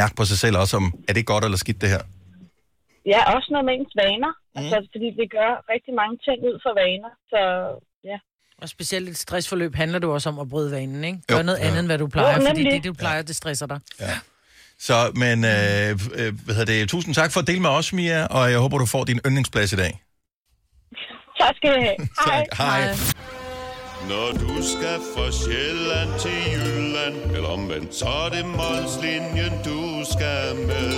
mærke på sig selv også om, er det godt eller skidt det her? Ja, også noget med ens vaner. Mm. Altså, fordi vi gør rigtig mange ting ud for vaner. Så ja. Og specielt et stressforløb handler det jo også om at bryde vanen, ikke? Gør Jo. noget andet, end hvad du plejer, Jo, fordi nemlig. det, du plejer, det stresser dig. Så, men øh, øh, hvad hedder det? tusind tak for at dele med os, Mia, og jeg håber, du får din yndlingsplads i dag. Tak skal I have. Hej. Tak. Hej. Hej. Når du skal fra Sjælland til Jylland Eller omvendt, så er det Molslinjen, du skal med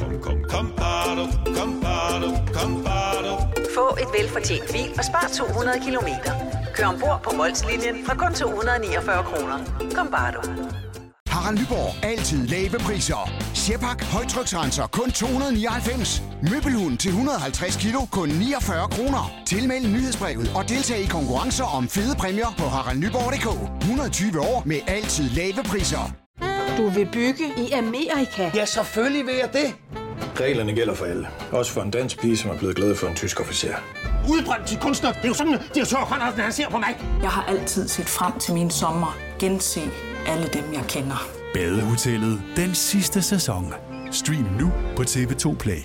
Kom, kom, kom, bado, kom, bado, kom, bado. Få et velfortjent bil og spar 200 kilometer. Kør ombord på Molslinjen fra kun 249 kroner. Kom bare du. Harald Nyborg. Altid lave priser. Sjehpak. Højtryksrenser. Kun 299. Møbelhund til 150 kilo. Kun 49 kroner. Tilmeld nyhedsbrevet og deltag i konkurrencer om fede præmier på haraldnyborg.dk. 120 år med altid lave priser. Du vil bygge i Amerika? Ja, selvfølgelig vil jeg det. Reglerne gælder for alle. Også for en dansk pige, som er blevet glad for en tysk officer. Udbrøndt til kunstner. Det er jo sådan, at de har han ser på mig. Jeg har altid set frem til min sommer. Gense alle dem, jeg kender. Badehotellet den sidste sæson. Stream nu på TV2 Play.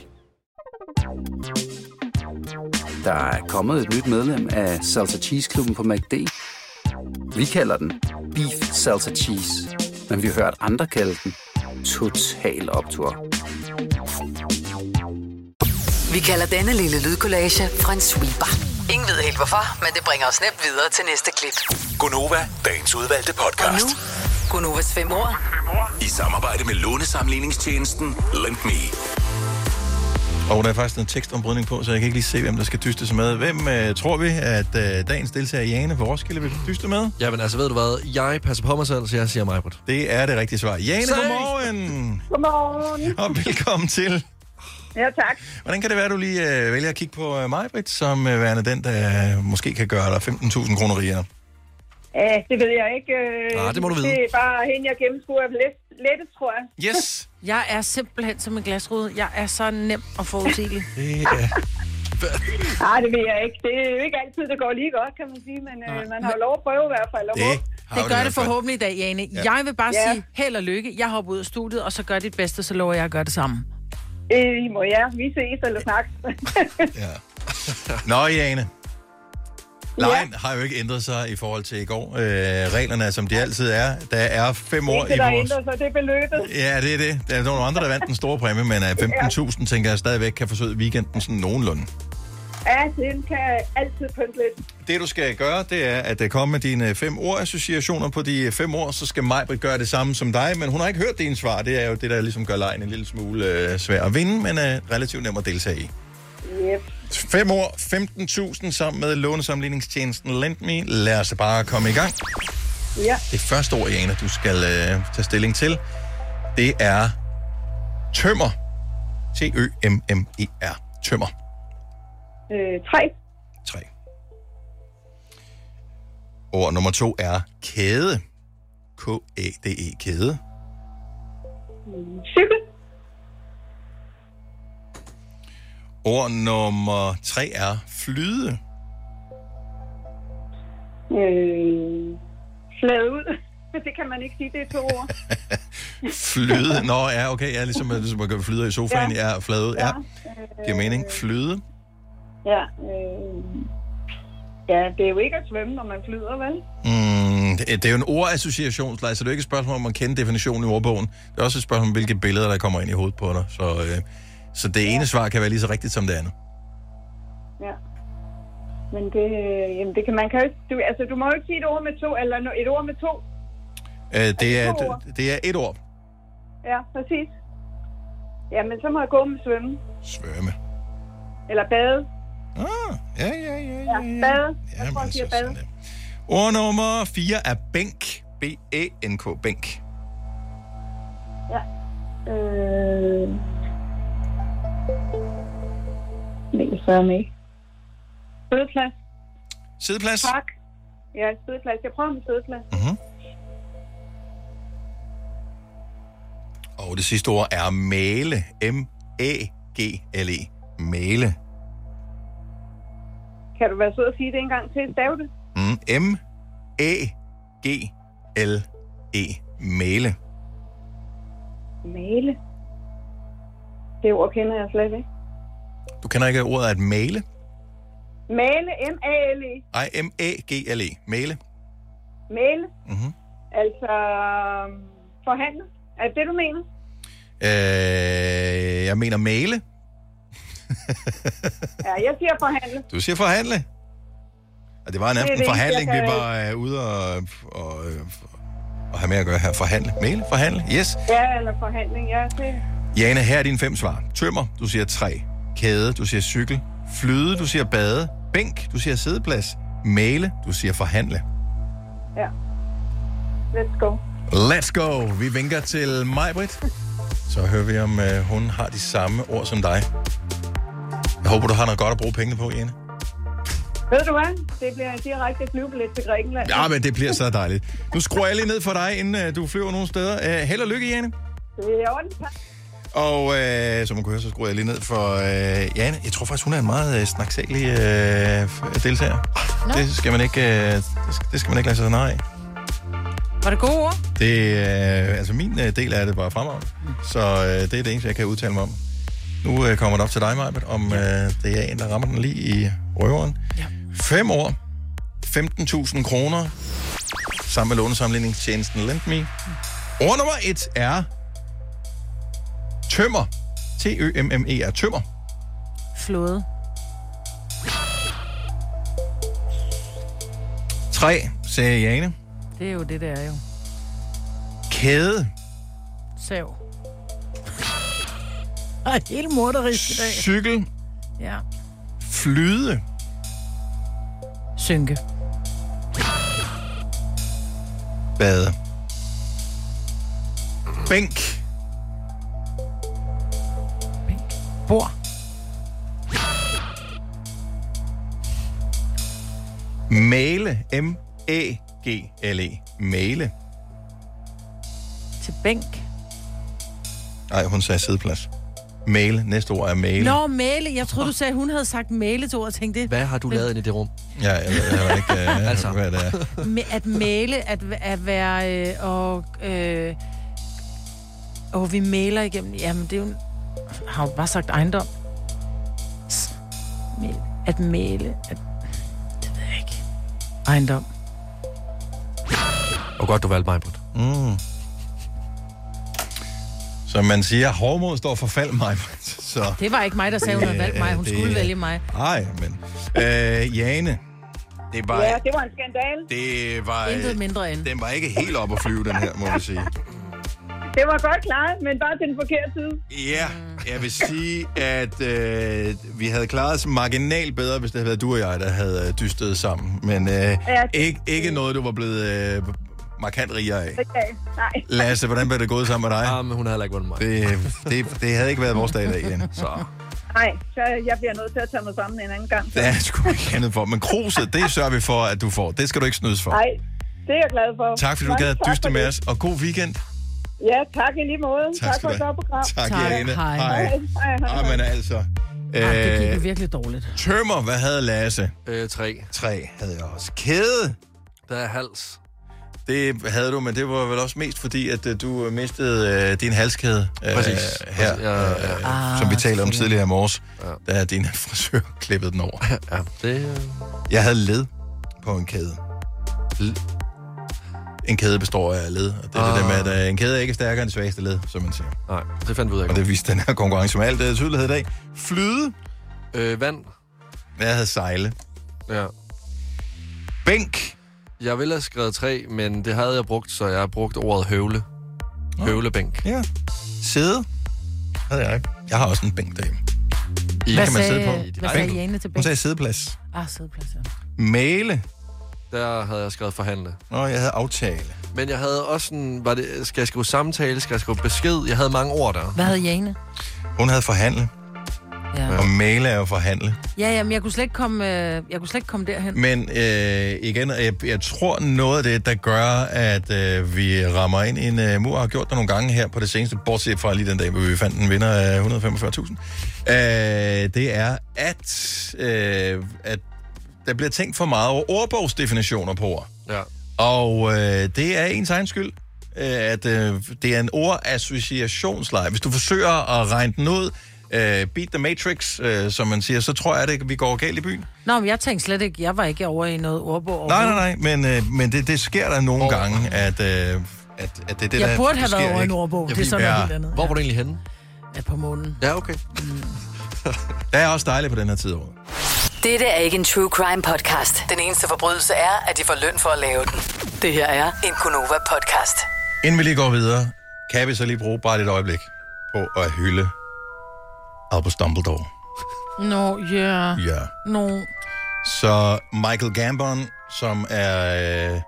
Der er kommet et nyt medlem af Salsa Cheese Klubben på MACD. Vi kalder den Beef Salsa Cheese, men vi har hørt andre kalde den Total Optor. Vi kalder denne lille lydkollage en sweeper. Ingen ved helt hvorfor, men det bringer os nemt videre til næste klip. Gonova, dagens udvalgte Og podcast. nu, Gunovas fem år. I samarbejde med lånesamligningstjenesten Lend Me. Og der er faktisk en tekstombrydning på, så jeg kan ikke lige se, hvem der skal dyste med. Hvem øh, tror vi, at øh, dagens deltager Jane fra Roskilde vil dyste med? Jamen altså, ved du hvad? Jeg passer på mig selv, så jeg siger mig, Det er det rigtige svar. Jane, Sej! godmorgen! Godmorgen. Og velkommen til. Ja, tak. Hvordan kan det være, at du lige øh, vælger at kigge på øh, mig, Britt, som øh, værende den, der øh, måske kan gøre dig 15.000 kroner rigere? Ja, det ved jeg ikke. øh, Ah, det må du vide. Det er bare hende, jeg gennemskuer let, lettet, tror jeg. Yes. Jeg er simpelthen som en glasrude. Jeg er så nem og forudsigelig. Nej, det ved jeg ikke. Det er jo ikke altid, det går lige godt, kan man sige, men øh, man har jo lov at prøve i hvert fald. og håbe. Det gør det forhåbentlig i dag, Jane. Ja. Jeg vil bare Ja. sige held og lykke. Jeg hopper ud af studiet, og så gør dit bedste, så lover jeg at gøre det samme. Øh, I må ja, vi ses eller snakkes. Nå, Jane. Lejen har jo ikke ændret sig i forhold til i går. Øh, reglerne er, som de altid er. Der er fem ikke år det, i der vores... ændrer sig, det er beløbet. Ja, det er det. Der er nogle andre, der vandt den store præmie, men øh, 15.000 tænker jeg stadigvæk kan forsøge weekenden sådan nogenlunde. Ja, den kan altid pynte lidt. Det, du skal gøre, det er at øh, komme med dine øh, fem ordassociationer på de øh, fem ord, så skal Majbrit gøre det samme som dig, men hun har ikke hørt dine svar. Det er jo det, der ligesom gør lejen en lille smule øh, svær at vinde, men øh, relativt nem at deltage i. Yep. Fem år, 15.000 sammen med lånesamligningstjenesten LendMe. Lad os bare komme i gang. Ja. Det første ord, Jane, du skal øh, tage stilling til, det er tømmer. T-Ø-M-M-E-R. Tømmer. Øh, tre. Tre. Ord nummer to er kæde. K-A-D-E, kæde. Mm, Cykel. Ord nummer tre er flyde. Øh, flade ud. Det kan man ikke sige, det er to ord. Flyde. Nå, ja, okay. Ja, ligesom, ligesom at gøre flyder i sofaen. Ja, ja flade ud. Ja, giver mening. Flyde. Ja, øh, ja, det er jo ikke at svømme, når man flyder, vel? Mm, det det er jo en ordassociationsleg, så det er jo ikke et spørgsmål om at kende definitionen i ordbogen. Det er også et spørgsmål om, hvilke billeder, der kommer ind i hovedet på dig. Så, øh, så det ene svar kan være lige så rigtigt som det andet. Ja. Men det, øh, jamen det kan man kan jo ikke, du, altså du må jo ikke sige et ord med to, eller no- et ord med to. Øh, det, er, to ord? det, det er et ord. Ja, præcis. Jamen, så må jeg gå med svømme. Svømme. Eller bade. Ah, ja, ja, ja, ja. ja bade. Jeg Jamen, altså, tror, jeg siger så bade. Ord nummer 4 er bænk. B-A-N-K, bænk. Ja. Øh... Nej, jeg spørger mig ikke. Sideplads. Sideplads? Tak. Ja, sideplads. Jeg prøver med sideplads. Og det sidste ord er male. M-A-G-L-E. Male. Kan du være sød og sige det en gang til? Stave det. Mm, M-A-G-L-E. Male. Male. Det ord kender jeg slet ikke. Du kender ikke ordet at male? Male. M-A-L-E. Nej, M-A-G-L-E. Male. Male. Mhm. Altså... øhm, Forhandle. Er det det, du mener? Øh, jeg mener male. Ja, jeg siger forhandle. Du siger forhandle. Og det var Det nærmest er en det forhandling, vi eneste, jeg kan- var øh, ude og, og, øh, og have med at gøre her. Forhandle. Male. Forhandle. Yes. Ja, eller forhandling. Ja, det... Jana, her er dine fem svar. Tømmer, du siger tre. Kæde, du siger cykel. Flyde, du siger bade. Bænk, du siger sideplads. Male, du siger forhandle. Ja. Let's go. Let's go! Vi vinker til Majbrit. Så hører vi, om øh, hun har de samme ord som dig. Jeg håber, du har noget godt at bruge pengene på, Jane. Ved du hvad? Det bliver en direkte flyvebillet til Grækenland. Ja, men det bliver så dejligt. Nu skruer jeg lige ned for dig, inden øh, du flyver nogen steder. Øh, held og lykke, Jane. Det er ordentligt. tak. Og øh, som man kunne høre, så skruer jeg lige ned for øh, Jane. Jeg tror faktisk, hun er en meget øh, snaksagelig øh, f- deltager. Det skal man ikke, øh, det, skal, det skal man ikke lade sig nej af. Var det gode ord? Det, øh, altså min øh, del af det var fremragende, så øh, det er det eneste, jeg kan udtale mig om. Nu øh, kommer det op til dig, Majbet, om øh, det er en, der rammer den lige i røveren. Ja. Fem år, 15.000 kroner, sammen med lånesamlingstjenesten LendMe. Ord nummer et er tømmer. T-Ø-M-M-E-R, tømmer. Flåde. Tre, sagde Jane. Det er jo det, der er jo. Kæde. Sav. Og et helt morderisk i dag. Cykel, Ja. flyde. Synke. Bade. Bænk. Bor. Male. M-A-G-L-E. Male. Til bænk. Nej, hun sagde sideplads. Male. Næste ord er male. Nå, mæle. Jeg troede, du sagde, at hun havde sagt mæle til ordet. Jeg Tænkte, Hvad har du lavet inde i det rum? Ja, jeg ved jeg ved ikke, uh, altså. hvad det er. Med at male, at, at være... Øh, og, øh, og vi maler igennem... Jamen, det er jo... en- Har jo bare sagt ejendom. S- mæl- At male... At, det ved jeg ikke. Ejendom. Og godt, du valgte mig, Britt. Mm. Som man siger, hårdmod står for fald mig. Så, øh, Det var ikke mig, der sagde, hun havde valgt mig. Hun Det- skulle vælge mig. ej, men. Øh, Jane, det var, Ja, det var en skandal. det var, Intet mindre end. den var ikke helt op at flyve, den her, må vi sige. Det var godt klaret, men bare til den forkerte side. Ja, jeg vil sige, at øh, vi havde klaret os marginalt bedre, hvis det havde været du og jeg, der havde øh, dystet sammen. Men øh, ikke, ikke noget, du var blevet øh, markant rigere af. Okay, nej. Lasse, hvordan blev det gået sammen med dig? Ah, men hun har heller ikke vundet mig. Det, det, det havde ikke været vores dag i dag, igen. Så. Nej, så jeg bliver nødt til at tage mig sammen en anden gang. Det er sgu ikke andet for. Men kruset, det sørger vi for, at du får. Det skal du ikke snydes for. Nej, det er jeg glad for. Tak fordi du Mange gad at tak dyste for med det. os, og god weekend. Ja, tak i lige måde. Tak, skal for du et have. godt program. Tak, Jane. Hej. Hej. Hej, hej. Ej, men altså. Ah, Ej, det gik jo Øh, virkelig dårligt. tømmer, hvad havde Lasse? Øh, tre. Tre havde jeg også. Kæde, Der er hals. det havde du, men det var vel også mest fordi, at øh, du mistede øh, din halskæde øh, Præcis. her, Præcis. Ja, ja, ja. øh, som vi talte om tidligere i morges, da din frisør klippede den over. Ja, det... øh, Jeg havde led på en kæde. L- en kæde består af led, og det er ah. det der med, at øh, en kæde er ikke stærkere end det svageste led, som man siger. Nej, det fandt vi ud af. Og i det viste den her konkurrence med alt det tydelighed i dag. Flyde. går. Øh, vand. Jeg havde sejle. Ja. Bænk. Jeg ville have skrevet tre, men det havde jeg brugt, så jeg har brugt ordet høvle. Høvlebænk. Ja. Sæde. Havde jeg ikke. Jeg har også en bænk derhjemme. I, Hvad kan man sidde sagde, på. hvad Ej, sagde Jane til Hun bænk? sagde sædeplads. Ah, sædeplads, ja. Male. der havde jeg skrevet forhandle. Nå, jeg havde aftale. Men jeg havde også sådan, var det, skal jeg skrive samtale, skal jeg skrive besked? Jeg havde mange ord der. Hvad havde Jane? Hun havde forhandle, Ja. og male er jo forhandle. Ja, ja, men jeg kunne slet ikke komme, øh, jeg kunne slet ikke komme derhen. Men øh, igen, jeg, jeg tror noget af det, der gør, at øh, vi rammer ind i en øh, mur, og har gjort det nogle gange her på det seneste, bortset fra lige den dag, hvor vi fandt en vinder af 145.000, øh, det er, at, øh, at der bliver tænkt for meget over ordbogsdefinitioner på ord. Ja. Og øh, det er ens egen skyld, øh, at øh, det er en ordassociationsleje. Hvis du forsøger at regne den ud, øh, beat the matrix, øh, som man siger, så tror jeg, at vi går galt i byen. Nå, men jeg tænkte slet ikke, jeg var ikke over i noget ordbog. Nej, nej, nej, men, øh, men det, det sker der nogle oh. gange, at, øh, at, at det er det, der Jeg burde have sker, været over i en ikke? ordbog. Ja, Det er sådan ja. noget helt andet. Hvor var du egentlig henne? Ja, på månen. Ja, okay. Der er også dejligt på den her tid af året. Dette er ikke en true crime podcast. Den eneste forbrydelse er, at de får løn for at lave den. Det her er en Gunova podcast. Inden vi lige går videre, kan vi så lige bruge bare et øjeblik på at hylde Albus Dumbledore. Nå, ja. Ja. Nå. Så Michael Gambon, som er øh,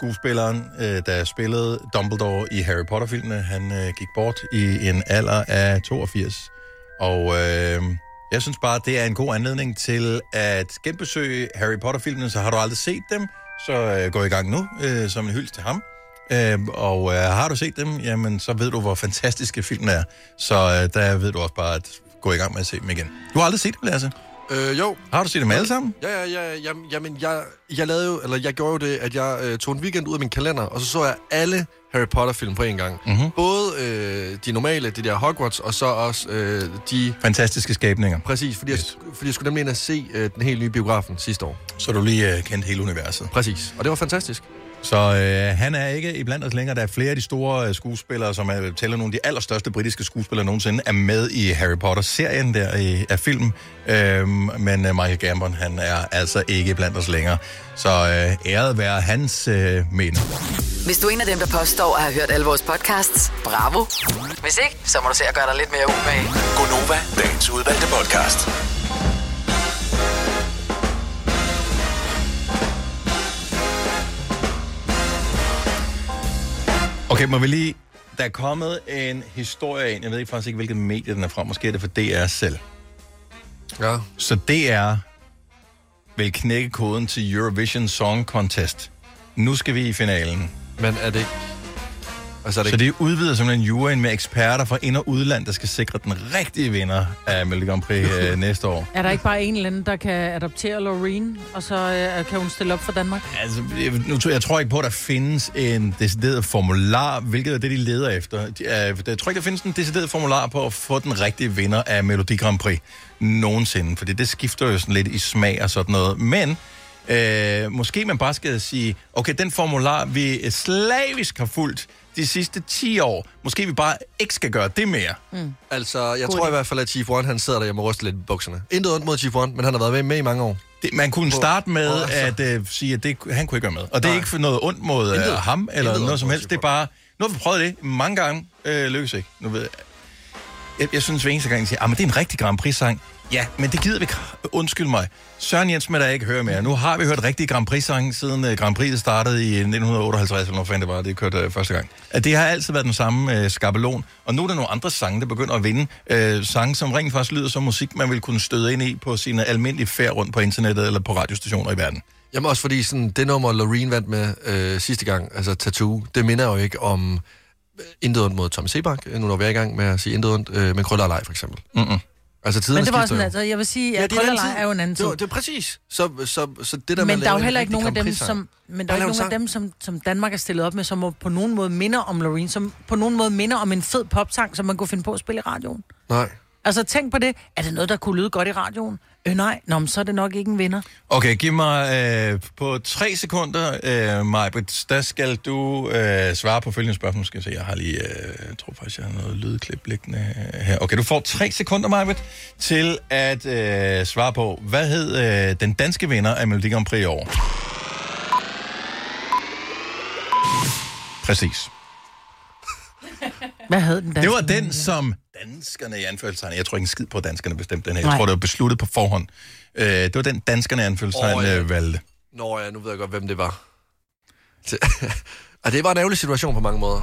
skuespilleren, øh, der spillede Dumbledore i Harry Potter-filmene, han øh, gik bort i en alder af 82. Og øh, jeg synes bare, det er en god anledning til at genbesøge Harry Potter-filmene, så har du aldrig set dem, så øh, gå i gang nu øh, som en hyldest til ham. Øh, og øh, har du set dem, jamen så ved du, hvor fantastiske filmene er. Så øh, der ved du også bare at gå i gang med at se dem igen. Du har aldrig set dem, Lasse. Øh, jo. Har du set dem alle sammen? Ja, ja, ja, jamen, jamen jeg, jeg lavede jo, eller jeg gjorde jo det, at jeg øh, tog en weekend ud af min kalender, og så så jeg alle Harry Potter-film på en gang. Mhm. Mm-hmm. Både øh, de normale, de der Hogwarts, og så også øh, de... Fantastiske skabninger. Præcis, fordi, yes. jeg, fordi jeg skulle nemlig ind og se øh, den helt nye biografen sidste år. så du lige øh, kendte hele universet. Præcis, og det var fantastisk. Så øh, han er ikke iblandt os længere. Der er flere af de store øh, skuespillere, som er, tæller nogle af de allerstørste britiske skuespillere nogensinde, er med i Harry Potter-serien der i, af film. Øhm, men øh, Michael Gambon, han er altså ikke iblandt os længere. Så øh, æret være hans øh, mener. Hvis du er en af dem, der påstår at have hørt alle vores podcasts, bravo. Hvis ikke, så må du se at gøre dig lidt mere umage. Gonova, dagens udvalgte podcast. Okay, må vi lige... Der er kommet en historie ind. Jeg ved ikke faktisk ikke, hvilket medie den er fra. Måske er det for DR selv. Ja. Så DR vil knække koden til Eurovision Song Contest. Nu skal vi i finalen. Men er det ikke... Altså, er det så det udvider simpelthen juryen med eksperter fra ind- og udland, der skal sikre den rigtige vinder af Melodi Grand Prix øh, næste år. Er der ikke bare en eller anden, der kan adoptere Loreen, og så øh, kan hun stille op for Danmark? Altså, jeg- nu tror jeg tror ikke på, at der findes en decideret formular, hvilket er det, de leder efter. De, øh, jeg tror ikke, der findes en decideret formular på at få den rigtige vinder af Melodi Grand Prix nogensinde, fordi det skifter jo sådan lidt i smag og sådan noget. Men øh, måske man bare skal sige, okay, den formular, vi slavisk har fulgt de sidste 10 år, måske vi bare ikke skal gøre det mere. Mm. Altså, jeg God tror i hvert fald, at Chief One, han sidder derhjemme og ryster lidt i bukserne. Intet ondt mod Chief One, men han har været med, med i mange år. Det, man kunne På- starte med Åh, altså. at øh, sige, at det, han kunne ikke være med. Og det er ikke for noget ondt mod øh, Intet. ham eller Intet noget ondt som helst. Det er bare, nu har vi prøvet det mange gange, øh, lykkes ikke. Nu ved jeg, jeg, jeg synes hver eneste gang, jeg siger, at det er en rigtig Grand Prix-sang. Ja, men det gider vi ikke. Undskyld mig. Søren Jensen med der ikke høre mere. Nu har vi hørt rigtig Grand Prix-sange, siden øh, Grand Prix startede i 1958, eller hvor fanden det var, det kørte øh, første gang. At det har altid været den samme øh, skabelon, og nu er der nogle andre sange, der begynder at vinde. Øh, sange, som rent faktisk lyder som musik, man vil kunne støde ind i på sine almindelige færd rundt på internettet eller på radiostationer i verden. Jamen også fordi sådan, det nummer, Loreen vandt med øh, sidste gang, altså Tattoo, det minder jo ikke om øh, intet ondt mod Tom Sebak, øh, nu når vi er i gang med at sige intet ondt, øh, men Krøller og Lej, for eksempel. Mm-hmm. Altså tiden Men det var også sådan, altså, jeg vil sige, at Ja, ja, det er en anden er, tid. er jo en anden tid. Det, var- det er præcis. Så, så, så det der men med at der er lave jo en heller ikke rigtig nogen af Grand dem, Prix-sang. som, men der Bare er lav ikke en nogen af dem, som, som Danmark er stillet op med, som må- på nogen måde minder om Loreen, som på nogen måde minder om en fed popsang, som man kunne finde på at spille i radioen. Nej. Altså tænk på det. Er det noget, der kunne lyde godt i radioen? Øh nej, Nå, men så er det nok ikke en vinder. Okay, giv mig øh, på tre sekunder, øh, Majbrit, der skal du øh, svare på følgende spørgsmål. Skal jeg, se, jeg har lige, øh, jeg tror faktisk, jeg har noget lydklip liggende øh, her. Okay, du får tre sekunder, Majbrit, til at øh, svare på, hvad hed øh, den danske vinder af Melodi Grand Prix i år? Præcis. Hvad hed den danske? Det var den, som danskerne i anførselstegn, jeg tror ikke en skid på at danskerne bestemte den her, jeg Nej. tror, det var besluttet på forhånd. Øh, det var den, danskerne i anførselstegn Åh, oh, ja. ja. valgte. Nå ja, nu ved jeg godt, hvem det var. Det, og det var en ærgerlig situation på mange måder.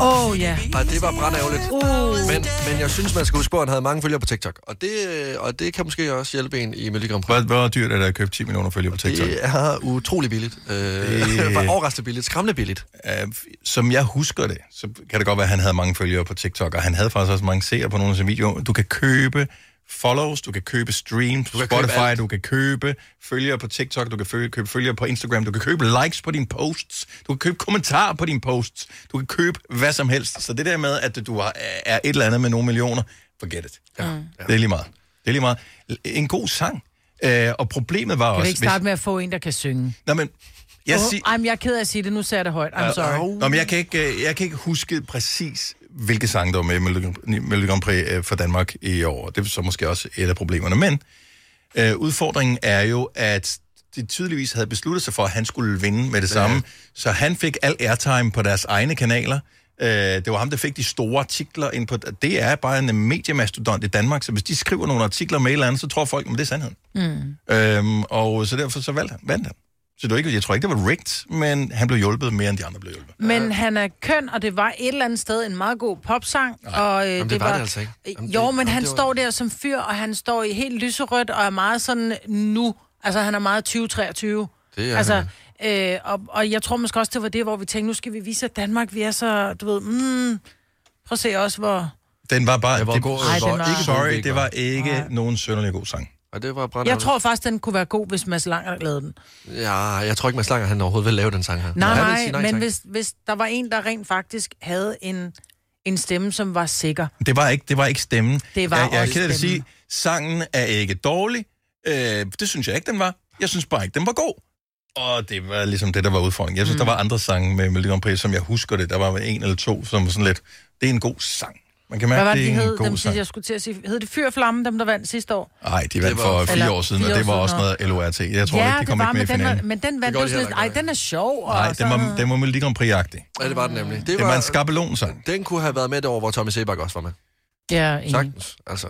Åh oh, ja. Og det var brandærgerligt. Uh. Men, men jeg synes, man skal huske på, at han havde mange følgere på TikTok. Og det, øh, og det kan måske også hjælpe en i Melodi Grand Prix. Hvad, hvad dyrt er det at købe 10 millioner følgere på TikTok? Det er utrolig billigt. Øh, det... var overraskende billigt. Skræmmende billigt. Øh, som jeg husker det, så kan det godt være, at han havde mange følgere på TikTok, og han havde faktisk også mange seere på nogle af sine videoer. Du kan købe follows, du kan købe streams på kan købe Spotify, alt. du kan købe følgere på TikTok, du kan fø- købe følgere på Instagram, du kan købe likes på dine posts, du kan købe kommentarer på dine posts, du kan købe hvad som helst. Så det der med, at du har- er et eller andet med nogle millioner, forget it. Mm. Ja. Ja. Det er lige meget. Det er lige meget. En god sang. Øh, og problemet var Kan vi også... ikke starte med at få en, der kan synge? Nå, men, jeg, Åh, sig, Ej, men jeg er ked af at sige det. Nu sagde jeg det højt. I'm sorry. Nå, men jeg kan ikke, øh, jeg kan ikke huske præcis, hvilke sange der var med i Melodi Grand- i Melodi Grand Prix øh, for Danmark i år. Det er så måske også et af problemerne. Men øh, udfordringen er jo, at de tydeligvis havde besluttet sig for, at han skulle vinde med det samme. Så han fik al airtime på deres egne kanaler. Øh, det var ham, der fik de store artikler ind på... Det er bare en mediemastodont i Danmark, så hvis de skriver nogle artikler med et eller andet, så tror folk, at det er sandheden. Mm. Øhm, og så derfor så valgte han, vandt han. Så det var ikke, jeg tror ikke, det var rigged, men han blev hjulpet mere, end de andre blev hjulpet. Men han er køn, og det var et eller andet sted en meget god popsang. Og, øh, det var det altså ikke. Jamen, jo, det- men jamen, han det var- står der som fyr, og han står i helt lyserødt, og er meget sådan nu. Altså, han er meget 2023. Det er altså, øh, og, og jeg tror måske også, det var det, hvor vi tænkte, nu skal vi vise, at Danmark, vi er så, du ved, mm, prøv at se også, hvor... Den var bare... Ja, hvor det, god- Ej, den var- ikke, god sorry, væk, det var. var ikke nogen sønderlig god sang. Og det var Jeg brandærgerligt. tror faktisk, den kunne være god, hvis Mads Langer lavede den. Ja, jeg tror ikke, man slanger, han overhovedet vil lave den sang her. Nej, han vil nej, sige nej men tak. hvis, hvis der var en, der rent faktisk havde en, en stemme, som var sikker. Det var ikke, det var ikke stemmen. Det var jeg, jeg er også ked af at sige, stemmen. sangen er ikke dårlig. Øh, det synes jeg ikke, den var. Jeg synes bare ikke, den var god. Og det var ligesom det, der var udfordringen. Jeg synes, mm. der var andre sange med Melodi Grand Prix, som jeg husker det. Der var en eller to, som var sådan lidt, det er en god sang. Man kan mærke, Hvad var det, det de er en hed? god Dem, sang. jeg skulle til at sige. Hed det Fyr og Flamme, dem der vandt sidste år? Nej, de vandt Det for var- fire Eller år siden, og fire det var år også siden, noget LOR-ting. Jeg tror ja, ikke, de kom det var, ikke men med i den, var- finalen. men den Det vandt går jo de sådan lidt, heller ej, den er sjov. Og Nej, den sådan var, noget. den var Melodi Grand Prix-agtig. Ja, det var den nemlig. Det var en skabelonsang. Den kunne have været med det år, hvor Thomas Sebak også var med. Ja, enig. Sagtens, altså.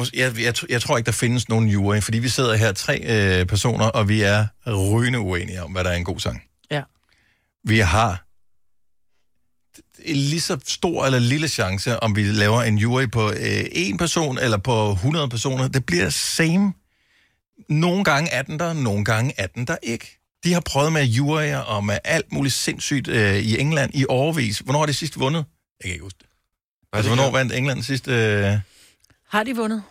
Mås- Jeg, jeg, tr- jeg tror ikke, der findes nogen jury, fordi vi sidder her tre øh, personer, og vi er rygende uenige om, hvad der er en god sang. Ja. Vi har en lige så stor eller lille chance, om vi laver en jury på øh, en person eller på 100 personer. Det bliver same. Nogle gange er den der, nogle gange er den der ikke. De har prøvet med juryer og med alt muligt sindssygt øh, i England i overvis. Hvornår har de sidst vundet? Jeg kan ikke huske det. Altså, hvornår vandt England sidst? Øh... Har de vundet?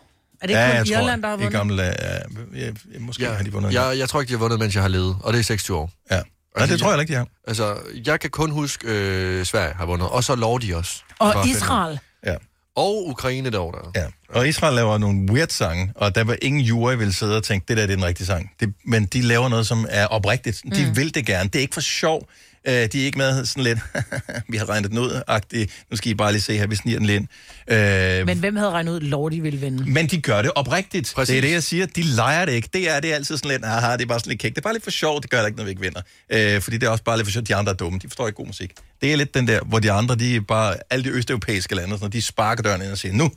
Er det ikke kun Irland, der har vundet? I gamle, øh, ja, ja, måske ja. har de vundet. Jeg, jeg tror ikke, de har vundet, mens jeg har levet, og det er 26 år. Ja. Nej, det tror jeg ikke, de har. Altså, jeg kan kun huske, øh, Sverige har vundet, og så lov de også. Og Fra Israel. Ja. Og Ukraine det år der. Ja. Og Israel laver nogle weird sange, og der var ingen jury vil sidde og tænke, det der det er den rigtige sang. Det, men de laver noget, som er oprigtigt. De Mm. mm. vil det gerne. Det er ikke for sjov. Øh, de er ikke med sådan lidt, vi har regnet den ud, agtigt. nu skal I bare lige se her, vi sniger den lidt ind. Øh, Men hvem havde regnet ud, Lordi ville vinde? Men de gør det oprigtigt. Præcis. Præcis. Det er det, jeg siger. De leger det ikke. Det er det er altid sådan lidt, aha, det er bare sådan lidt kægt. Det er bare lidt for sjovt, det gør der ikke noget, vi ikke vinder. Øh, fordi det er også bare lidt for sjovt, de andre er dumme. De forstår ikke god musik. Det er lidt den der, hvor de andre, de er bare, alle de østeuropæiske lande, og sådan, noget, de sparker døren ind og siger, nu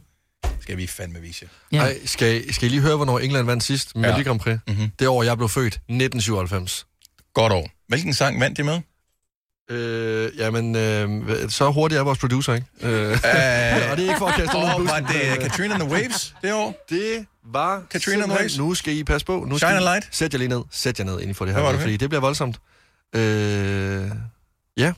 skal vi fandme vise jer. Ja. Ej, skal, I- skal I lige høre, hvornår England vandt sidst med ja. Grand Prix? Mm-hmm. Det år, jeg blev født, 1997. Mhm. Godt år. Hvilken sang vandt de med? Øh, jamen, øh, så hurtigt er vores producer, ikke? Øh, øh, og det er ikke for at kaste nogen Åh, under var bussen, det men, øh, Katrina and the Waves det år? Det var Katrina simpelthen- and the Waves. Nu skal I passe på. Nu Shine skal a I- light. Sæt jer lige ned. Sæt jer ned, inden I får det her. Hvad var Med, det for fordi en? det bliver voldsomt. Øh, ja.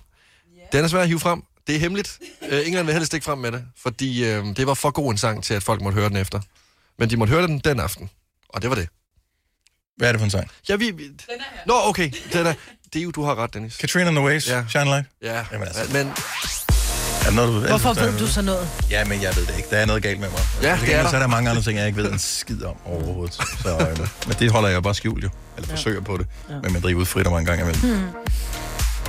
Den er svær at hive frem. Det er hemmeligt. Øh, England vil helst ikke frem med det, fordi øh, det var for god en sang til, at folk måtte høre den efter. Men de måtte høre den den aften. Og det var det. Hvad er det for en sang? Ja, vi... vi... Den er her. Nå, okay. Den er... Det er jo, du har ret, Dennis. Katrina and the Waves, Ja. ja. Shine a Light. Ja, Jamen, altså. men... Er der noget, du ved? Hvorfor Der er ved du noget- så noget? Ja, men jeg ved det ikke. Der er noget galt med mig. Ja, Til det er gengæld, der. Så er der mange andre ting, jeg ikke ved en skid om overhovedet. Så, øhm, men det holder jeg jo bare skjult jo. Eller forsøger på det. Ja. Men man driver ud frit mig en gang Hmm. imellem.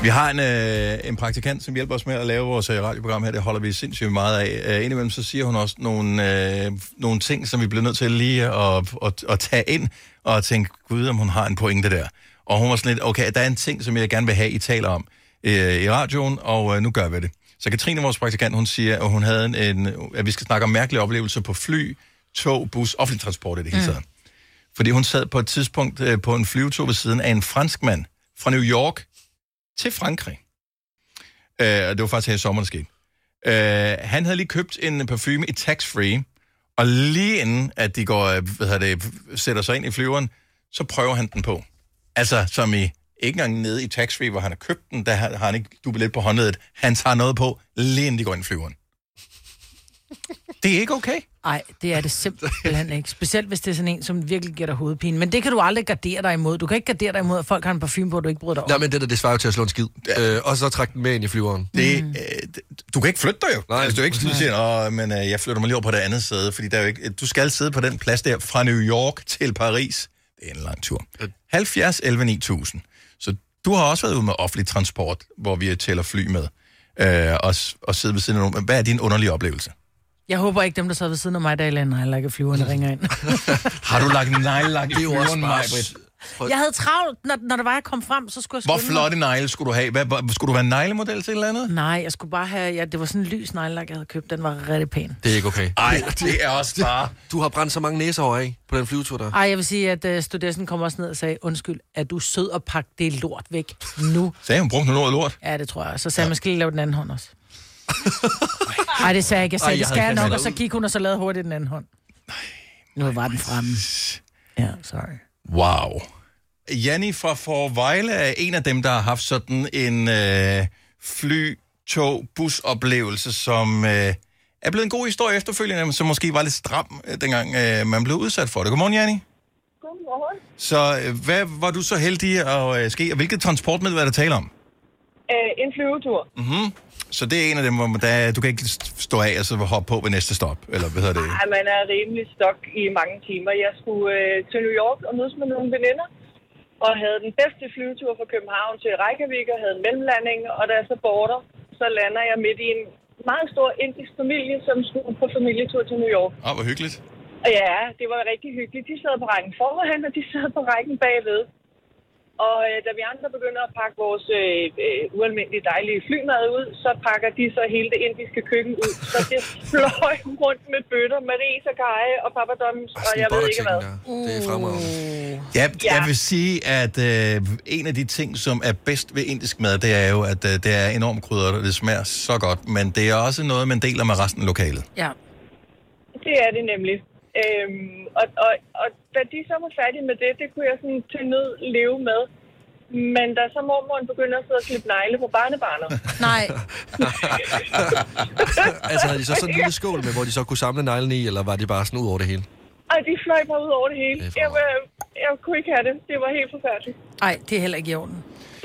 Vi har en, øh, en praktikant, som hjælper os med at lave vores øh, radioprogram her. Det holder vi sindssygt meget af. Øh, indimellem så siger hun også nogle, øh, nogle ting, som vi bliver nødt til lige at, at, at tage ind og tænke, gud, om hun har en pointe der. Og hun var sådan lidt, okay, der er en ting, som jeg gerne vil have, I taler om øh, i radioen, og øh, nu gør vi det. Så Katrine, vores praktikant, hun siger, at hun havde en, en, at vi skal snakke om mærkelige oplevelser på fly, tog, bus, offentlig transport i det hele Mm. taget. Fordi hun sad på et tidspunkt øh, på en flyvetur ved siden af en franskmand fra New York til Frankrig. Øh, og det var faktisk her i sommeren, det skete. Øh, han havde lige købt en parfume i tax-free, og lige inden, at de går, øh, hvad hedder det, sætter sig ind i flyveren, så prøver han den på. Altså, som i, ikke engang nede i tax-free, hvor han har købt den, der har har han ikke dubelet på håndledet. Han tager noget på, lige inden de går ind i flyveren. Det er ikke okay. Nej, det er det simpelthen ikke. Specielt hvis det er sådan en, som virkelig giver dig hovedpine. Men det kan du aldrig gardere dig imod. Du kan ikke gardere dig imod, at folk har en parfume på, du ikke bryder dig om. Nej, men det der, det svarer jo til at slå en skid. Øh, og så trække den med ind i flyveren. Det, øh, d- du kan ikke flytte dig jo. Nej. Altså, du er ikke sådan, du siger, Nå, men øh, jeg flytter mig lige over på det andet sæde, fordi der er jo ikke, du skal sidde på den plads der fra New York til Paris. Det er en lang tur. 70 11 9000. Så du har også været ude med offentlig transport, hvor vi tæller fly med, øh, og, s- og sidde ved siden af nogen. Men Hvad er din underlige oplevelse? Jeg håber ikke, dem, der sad ved siden af mig, der i landet, heller ikke flyverne ringer ind. Har du lagt neglelak i Det er jo også flyveren, bare- Majbrit? jeg havde travlt, når, når det var, jeg kom frem, så skulle jeg Hvor skynde flotte negle skulle du have? Hvad, hvor- skulle du være neglemodel til et eller andet? mig. Nej, jeg skulle bare have... Ja, det var sådan en lys nejlak, jeg havde købt. Den var rigtig pæn. Det er ikke okay. Ej, det er også bare... Du har brændt så mange næsehår af på den flyvetur der. Ej, jeg vil sige, at uh, studessen kom også ned og sagde, undskyld, er du sød og pakke det lort væk nu? Sagde hun, brugte hun ordet lort? Ja, det tror jeg. Så sagde jeg, man skal lige lave den anden hånd også. Nej, det sagde jeg ikke. Jeg sagde, Ej, Ej, jeg det skal havde jeg nok, fandme og så gik hun, og så lavede hurtigt den anden hånd. Nu var den fremme. Ja, sorry. Wow. Janni fra Forvejle er en af dem, der har haft sådan en øh, fly, tog, busoplevelse, som øh, er blevet en god historie efterfølgende, men som måske var lidt stram, øh, dengang øh, man blev udsat for det. Godmorgen, Janni. Godmorgen. Så øh, hvad var du så heldig at øh, ske, og hvilket transportmiddel var der tale om? Øh, en flyvetur. Mm-hmm. Så det er en af dem, hvor man- der, du kan ikke st- stå af og så hoppe på ved næste stop, eller hvad hedder det? Ej, man er rimelig stok i mange timer. Jeg skulle øh, til New York og mødes med nogle veninder, og havde den bedste flyvetur fra København til Reykjavik, og havde en mellemlanding, og da jeg så border, så lander jeg midt i en meget stor indisk familie, som skulle på familietur til New York. Åh, Ah, hvor hyggeligt. Og ja, det var rigtig hyggeligt. De sad på rækken foran, og de sad på rækken bagved. Og øh, da vi andre begynder at pakke vores øh, øh, ualmindelige dejlige flymad ud, så pakker de så hele det indiske køkken ud. Så det fløj rundt med bøtter, maris og kaj og papadums, og jeg ved ikke hvad. Det er Mm. fremragende. Ja, Ja. ja. Jeg vil sige, at øh, en af de ting, som er bedst ved indisk mad, det er jo, at øh, det er enormt krydret, og det smager så godt. Men det er også noget, man deler med resten af lokalet. Ja. Det er det nemlig. Øhm, og, og, og da de så var færdige med det, det kunne jeg sådan til nød leve med. Men da så mormoren begynder at sidde og klippe negle på barnebarnet. Nej. altså, havde de så sådan en lille skål med, hvor de så kunne samle neglen i, eller var det bare sådan ud over det hele? Ej, de fløj bare ud over det hele. Det er for Jeg, øh, jeg kunne ikke have det. Det var helt forfærdeligt. Nej, det er heller ikke i orden.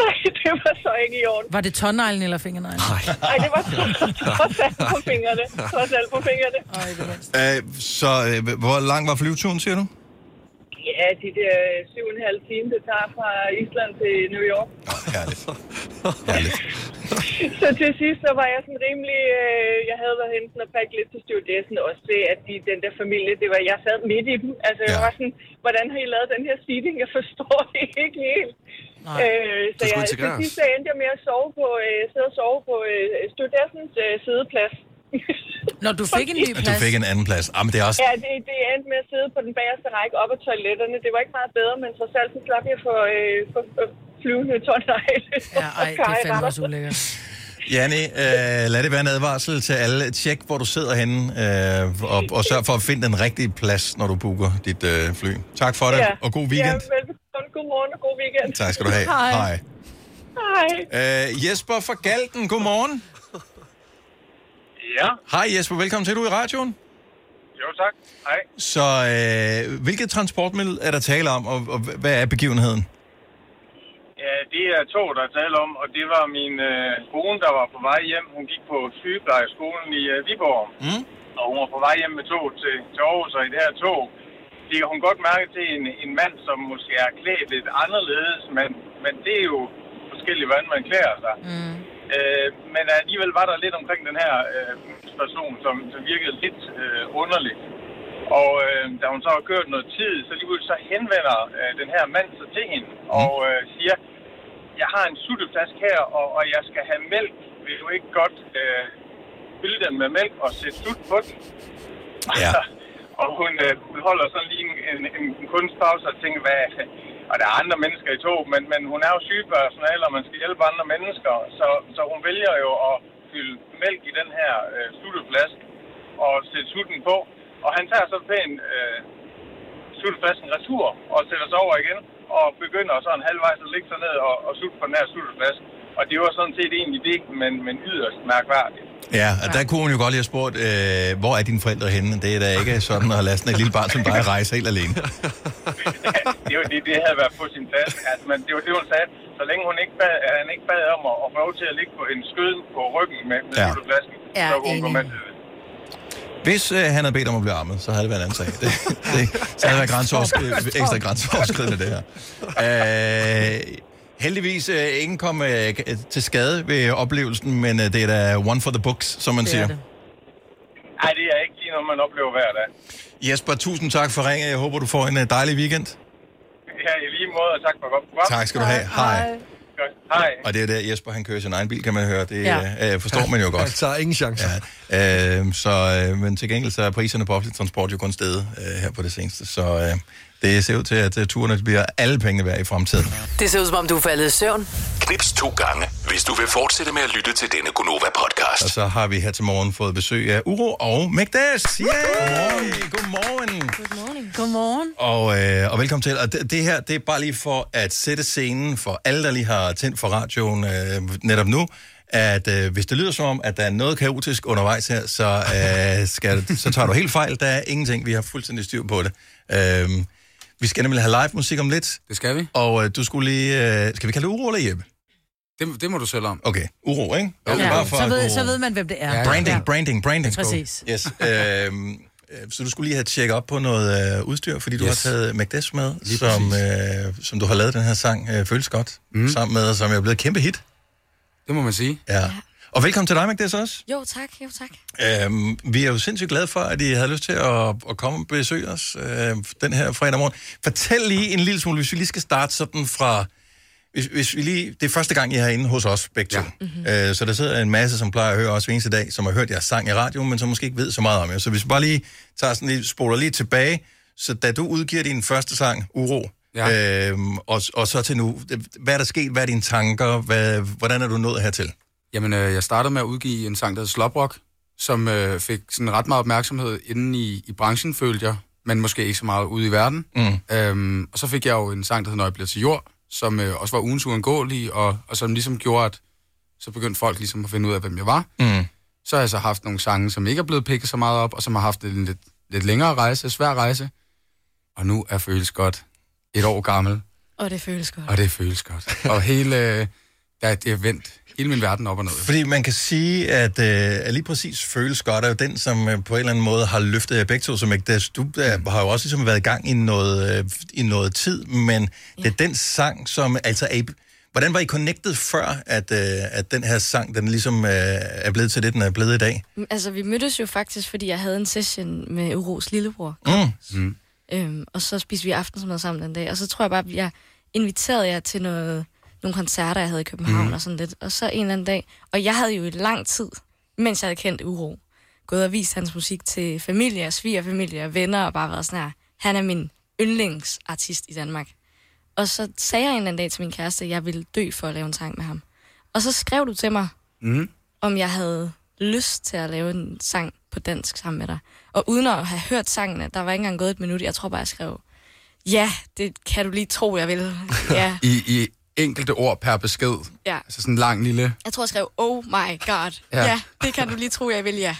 Nej, det var så ikke i orden. Var det tåneglen eller fingerneglen? Nej, det var trods alt på fingrene. Trods alt på fingrene. Øh, så øh, hvor lang var flyveturen, siger du? Ja, de der øh, syv og en halv time, det tager fra Island til New York. Herligt. så til sidst, så var jeg sådan rimelig... Øh, jeg havde været henne sådan og pakket lidt til stewardessen også ved, at de, den der familie, det var, jeg sad midt i dem. Altså, ja. jeg var sådan, hvordan har I lavet den her seating? Jeg forstår det ikke helt. Nej. Øh, Du så skulle jeg, til integreres. sidst så endte jeg med at sove på, øh, sidde og sove på øh, stewardessens øh, sideplads. Når du fik en ny At du fik en anden plads. Ah, men det er også... Ja, det, det endte med at sidde på den bagerste række op ad toiletterne. Det var ikke meget bedre, men trods alt så slap jeg for, øh, for, for flyvende tårnegle. Ja, ej, det er fandme også ulækkert. Janne, øh, lad det være en advarsel til alle. Tjek, hvor du sidder henne, øh, og, og sørg for at finde den rigtige plads, når du booker dit øh, fly. Tak for det, ja. og god weekend. Ja, velbekomme. God morgen og god weekend. Tak skal du have. Hej. Hej. Øh, Jesper fra Galten, godmorgen. Ja. Hej Jesper, velkommen til. Du er i radioen. Jo, tak. Hej. Så øh, hvilket transportmiddel er der tale om, og, og h- hvad er begivenheden? Ja, det er to, der er tale om, og det var min øh, kone, der var på vej hjem. Hun gik på sygeplejeskolen i øh, Viborg, Mm? og hun var på vej hjem med tog til, til Aarhus, og i det her tog, det kan hun godt mærke til en, en mand, som måske er klædt lidt anderledes, men, men det er jo forskelligt, hvordan man klæder sig. Mm. Øh, men alligevel var der lidt omkring den her øh, person, som, som virkede lidt øh, underligt. Og øh, da hun så har kørt noget tid, så lige pludselig så henvender øh, den her mand sig til hende og øh, siger, jeg har en sutteflaske her, og, og jeg skal have mælk. Vil du ikke godt øh, fylde den med mælk og sætte sut på den? Ja. og hun, øh, hun holder sådan lige en, en, en kunstpause og tænker, hvad... Og der er andre mennesker i tog, men, men hun er jo sygepersonale, og man skal hjælpe andre mennesker. Så, så hun vælger jo at fylde mælk i den her øh, sutteflaske og sætte sutten på. Og han tager så pænt øh, sutteflasken retur og sætter sig over igen og begynder sådan halvvejs at ligge sig ned og, og sutte på den her sutteflaske. Og det var sådan set egentlig det, men, men yderst mærkværdigt. Ja, og der kunne hun jo godt lige have spurgt, øh, hvor er dine forældre henne? Det er da ikke sådan at lade sådan et lille barn som dig rejse helt alene. det, var, det, det havde været på sin plads. Altså, men det var det, hun sagde. Så længe hun ikke bad, han ikke bad om at, at få lov til at ligge på en skød på ryggen med, med Ja. ja. sutteflasken, Ja, så kunne hun gå enig. med til det. Hvis øh, han havde bedt om at blive armet, så havde det været en anden sag. Det, det, så havde det været grænseoverskridende, ekstra grænseoverskridende, det her. Øh, heldigvis øh, ingen kom øh, til skade ved oplevelsen, men øh, det er da one for the books, som man Det er siger. det. Nej, det er ikke lige noget, man oplever hver dag. Jesper, tusind tak for ringet. Jeg håber, du får en øh, dejlig weekend. Ja, i lige måde, og tak for godt program. Tak skal du have. Hej. Godt. Hej. Og det er der, Jesper han kører sin egen bil, kan man høre. Det Ja. ja. øh, forstår man jo godt. Han tager Altså, ingen chancer. Ja. Øh, så, øh, men til gengæld så er priserne på offentlig transport jo kun steget øh, her på det seneste. Så øh, det ser ud til, at øh, turene bliver alle pengene værd i fremtiden. Det ser ud som om, du er faldet i søvn. Knips to gange, hvis du vil fortsætte med at lytte til denne Gonova-podcast. Og så har vi her til morgen fået besøg af Uro og Magdas. Yeah! Godmorgen. Godmorgen. Godmorgen. Og, øh, og velkommen til. Og det, det her, det er bare lige for at sætte scenen for alle, der lige har tændt for radioen øh, netop nu, at øh, hvis det lyder som om, at der er noget kaotisk undervejs her, så, øh, skal, så tager du helt fejl. Der er ingenting. Vi har fuldstændig styr på det. Øh, vi skal nemlig have live musik om lidt. Det skal vi. Og øh, du skulle lige... Øh, skal vi kalde det Uro eller Jeppe? Det, det må du selv om. Okay, Uro, ikke? Jo. Okay, Ja, bare så, ved, at- så ved man, hvem det er. Branding, Ja. branding, branding. Præcis. Yes. Øhm, øh, så du skulle lige have tjekket op på noget øh, udstyr, fordi du Yes. har taget Macdes med, Lige som, øh, som du har lavet den her sang øh, Føles Godt mm. sammen med, og som er blevet et kæmpe hit. Det må man sige. Ja. Og velkommen til dig, Magdes, også. Jo, tak. Jo, tak. Øhm, vi er jo sindssygt glade for, at I havde lyst til at, at komme og besøge os øh, den her fredag morgen. Fortæl lige en lille smule, hvis vi lige skal starte sådan fra... Hvis, hvis vi lige, det er første gang, I er herinde hos os begge ja. to. Mm-hmm. Øh, så der sidder en masse, som plejer at høre os hver eneste dag, som har hørt jeres sang i radioen, men som måske ikke ved så meget om jer. Så hvis vi bare lige tager sådan lige, spoler lige tilbage, så da du udgiver din første sang, Uro, ja. øh, og, og så til nu, hvad er der sket, hvad er dine tanker, hvad, hvordan er du nået hertil? Jamen, øh, jeg startede med at udgive en sang, der hedder Sloprock, som øh, fik sådan ret meget opmærksomhed inden i, i branchen, følte jeg, men måske ikke så meget ude i verden. Mm. Øhm, og så fik jeg jo en sang, der hedder Når jeg bliver til jord, som øh, også var ugens uundgåelig, og, og som ligesom gjorde, at så begyndte folk ligesom at finde ud af, hvem jeg var. Mm. Så har jeg så haft nogle sange, som ikke er blevet pikket så meget op, og som har haft en lidt, lidt længere rejse, svær rejse. Og nu er føles godt et år gammel, Og det føles godt. og det føles godt. og hele, øh, der, det er vendt hele min verden op og ned. Fordi man kan sige, at, øh, at lige præcis føles godt er jo den, som øh, på en eller anden måde har løftet jer begge to. Som ikke, des, du øh, har jo også ligesom været i gang i noget, øh, i noget tid, men det er den sang, som... Altså, er I, hvordan var I connected før, at, øh, at den her sang, den ligesom øh, er blevet til det, den er blevet i dag? Altså, vi mødtes jo faktisk, fordi jeg havde en session med Uros lillebror. Mm. Mm. Øhm, og så spiste vi aftensmad sammen den dag. Og så tror jeg bare, at jeg inviterede jer til noget, nogle koncerter, jeg havde i København Mhm. mm. og sådan lidt. Og så en eller anden dag. Og jeg havde jo i lang tid, mens jeg havde kendt Uro, gået og vist hans musik til familie, og svigerfamilie og venner, og bare været sådan her. Han er min yndlingsartist i Danmark. Og så sagde jeg en eller anden dag til min kæreste, at jeg ville dø for at lave en sang med ham. Og så skrev du til mig, Mm. om jeg havde lyst til at lave en sang på dansk sammen med dig. Og uden at have hørt sangene, der var ikke engang gået et minut, jeg tror bare, jeg skrev, ja, det kan du lige tro, jeg vil. Ja, I, I enkelte ord per besked. ja. Altså sådan en lang lille... Jeg tror, jeg skrev, oh my god, Ja. ja, ja det kan du lige tro, jeg vil, ja.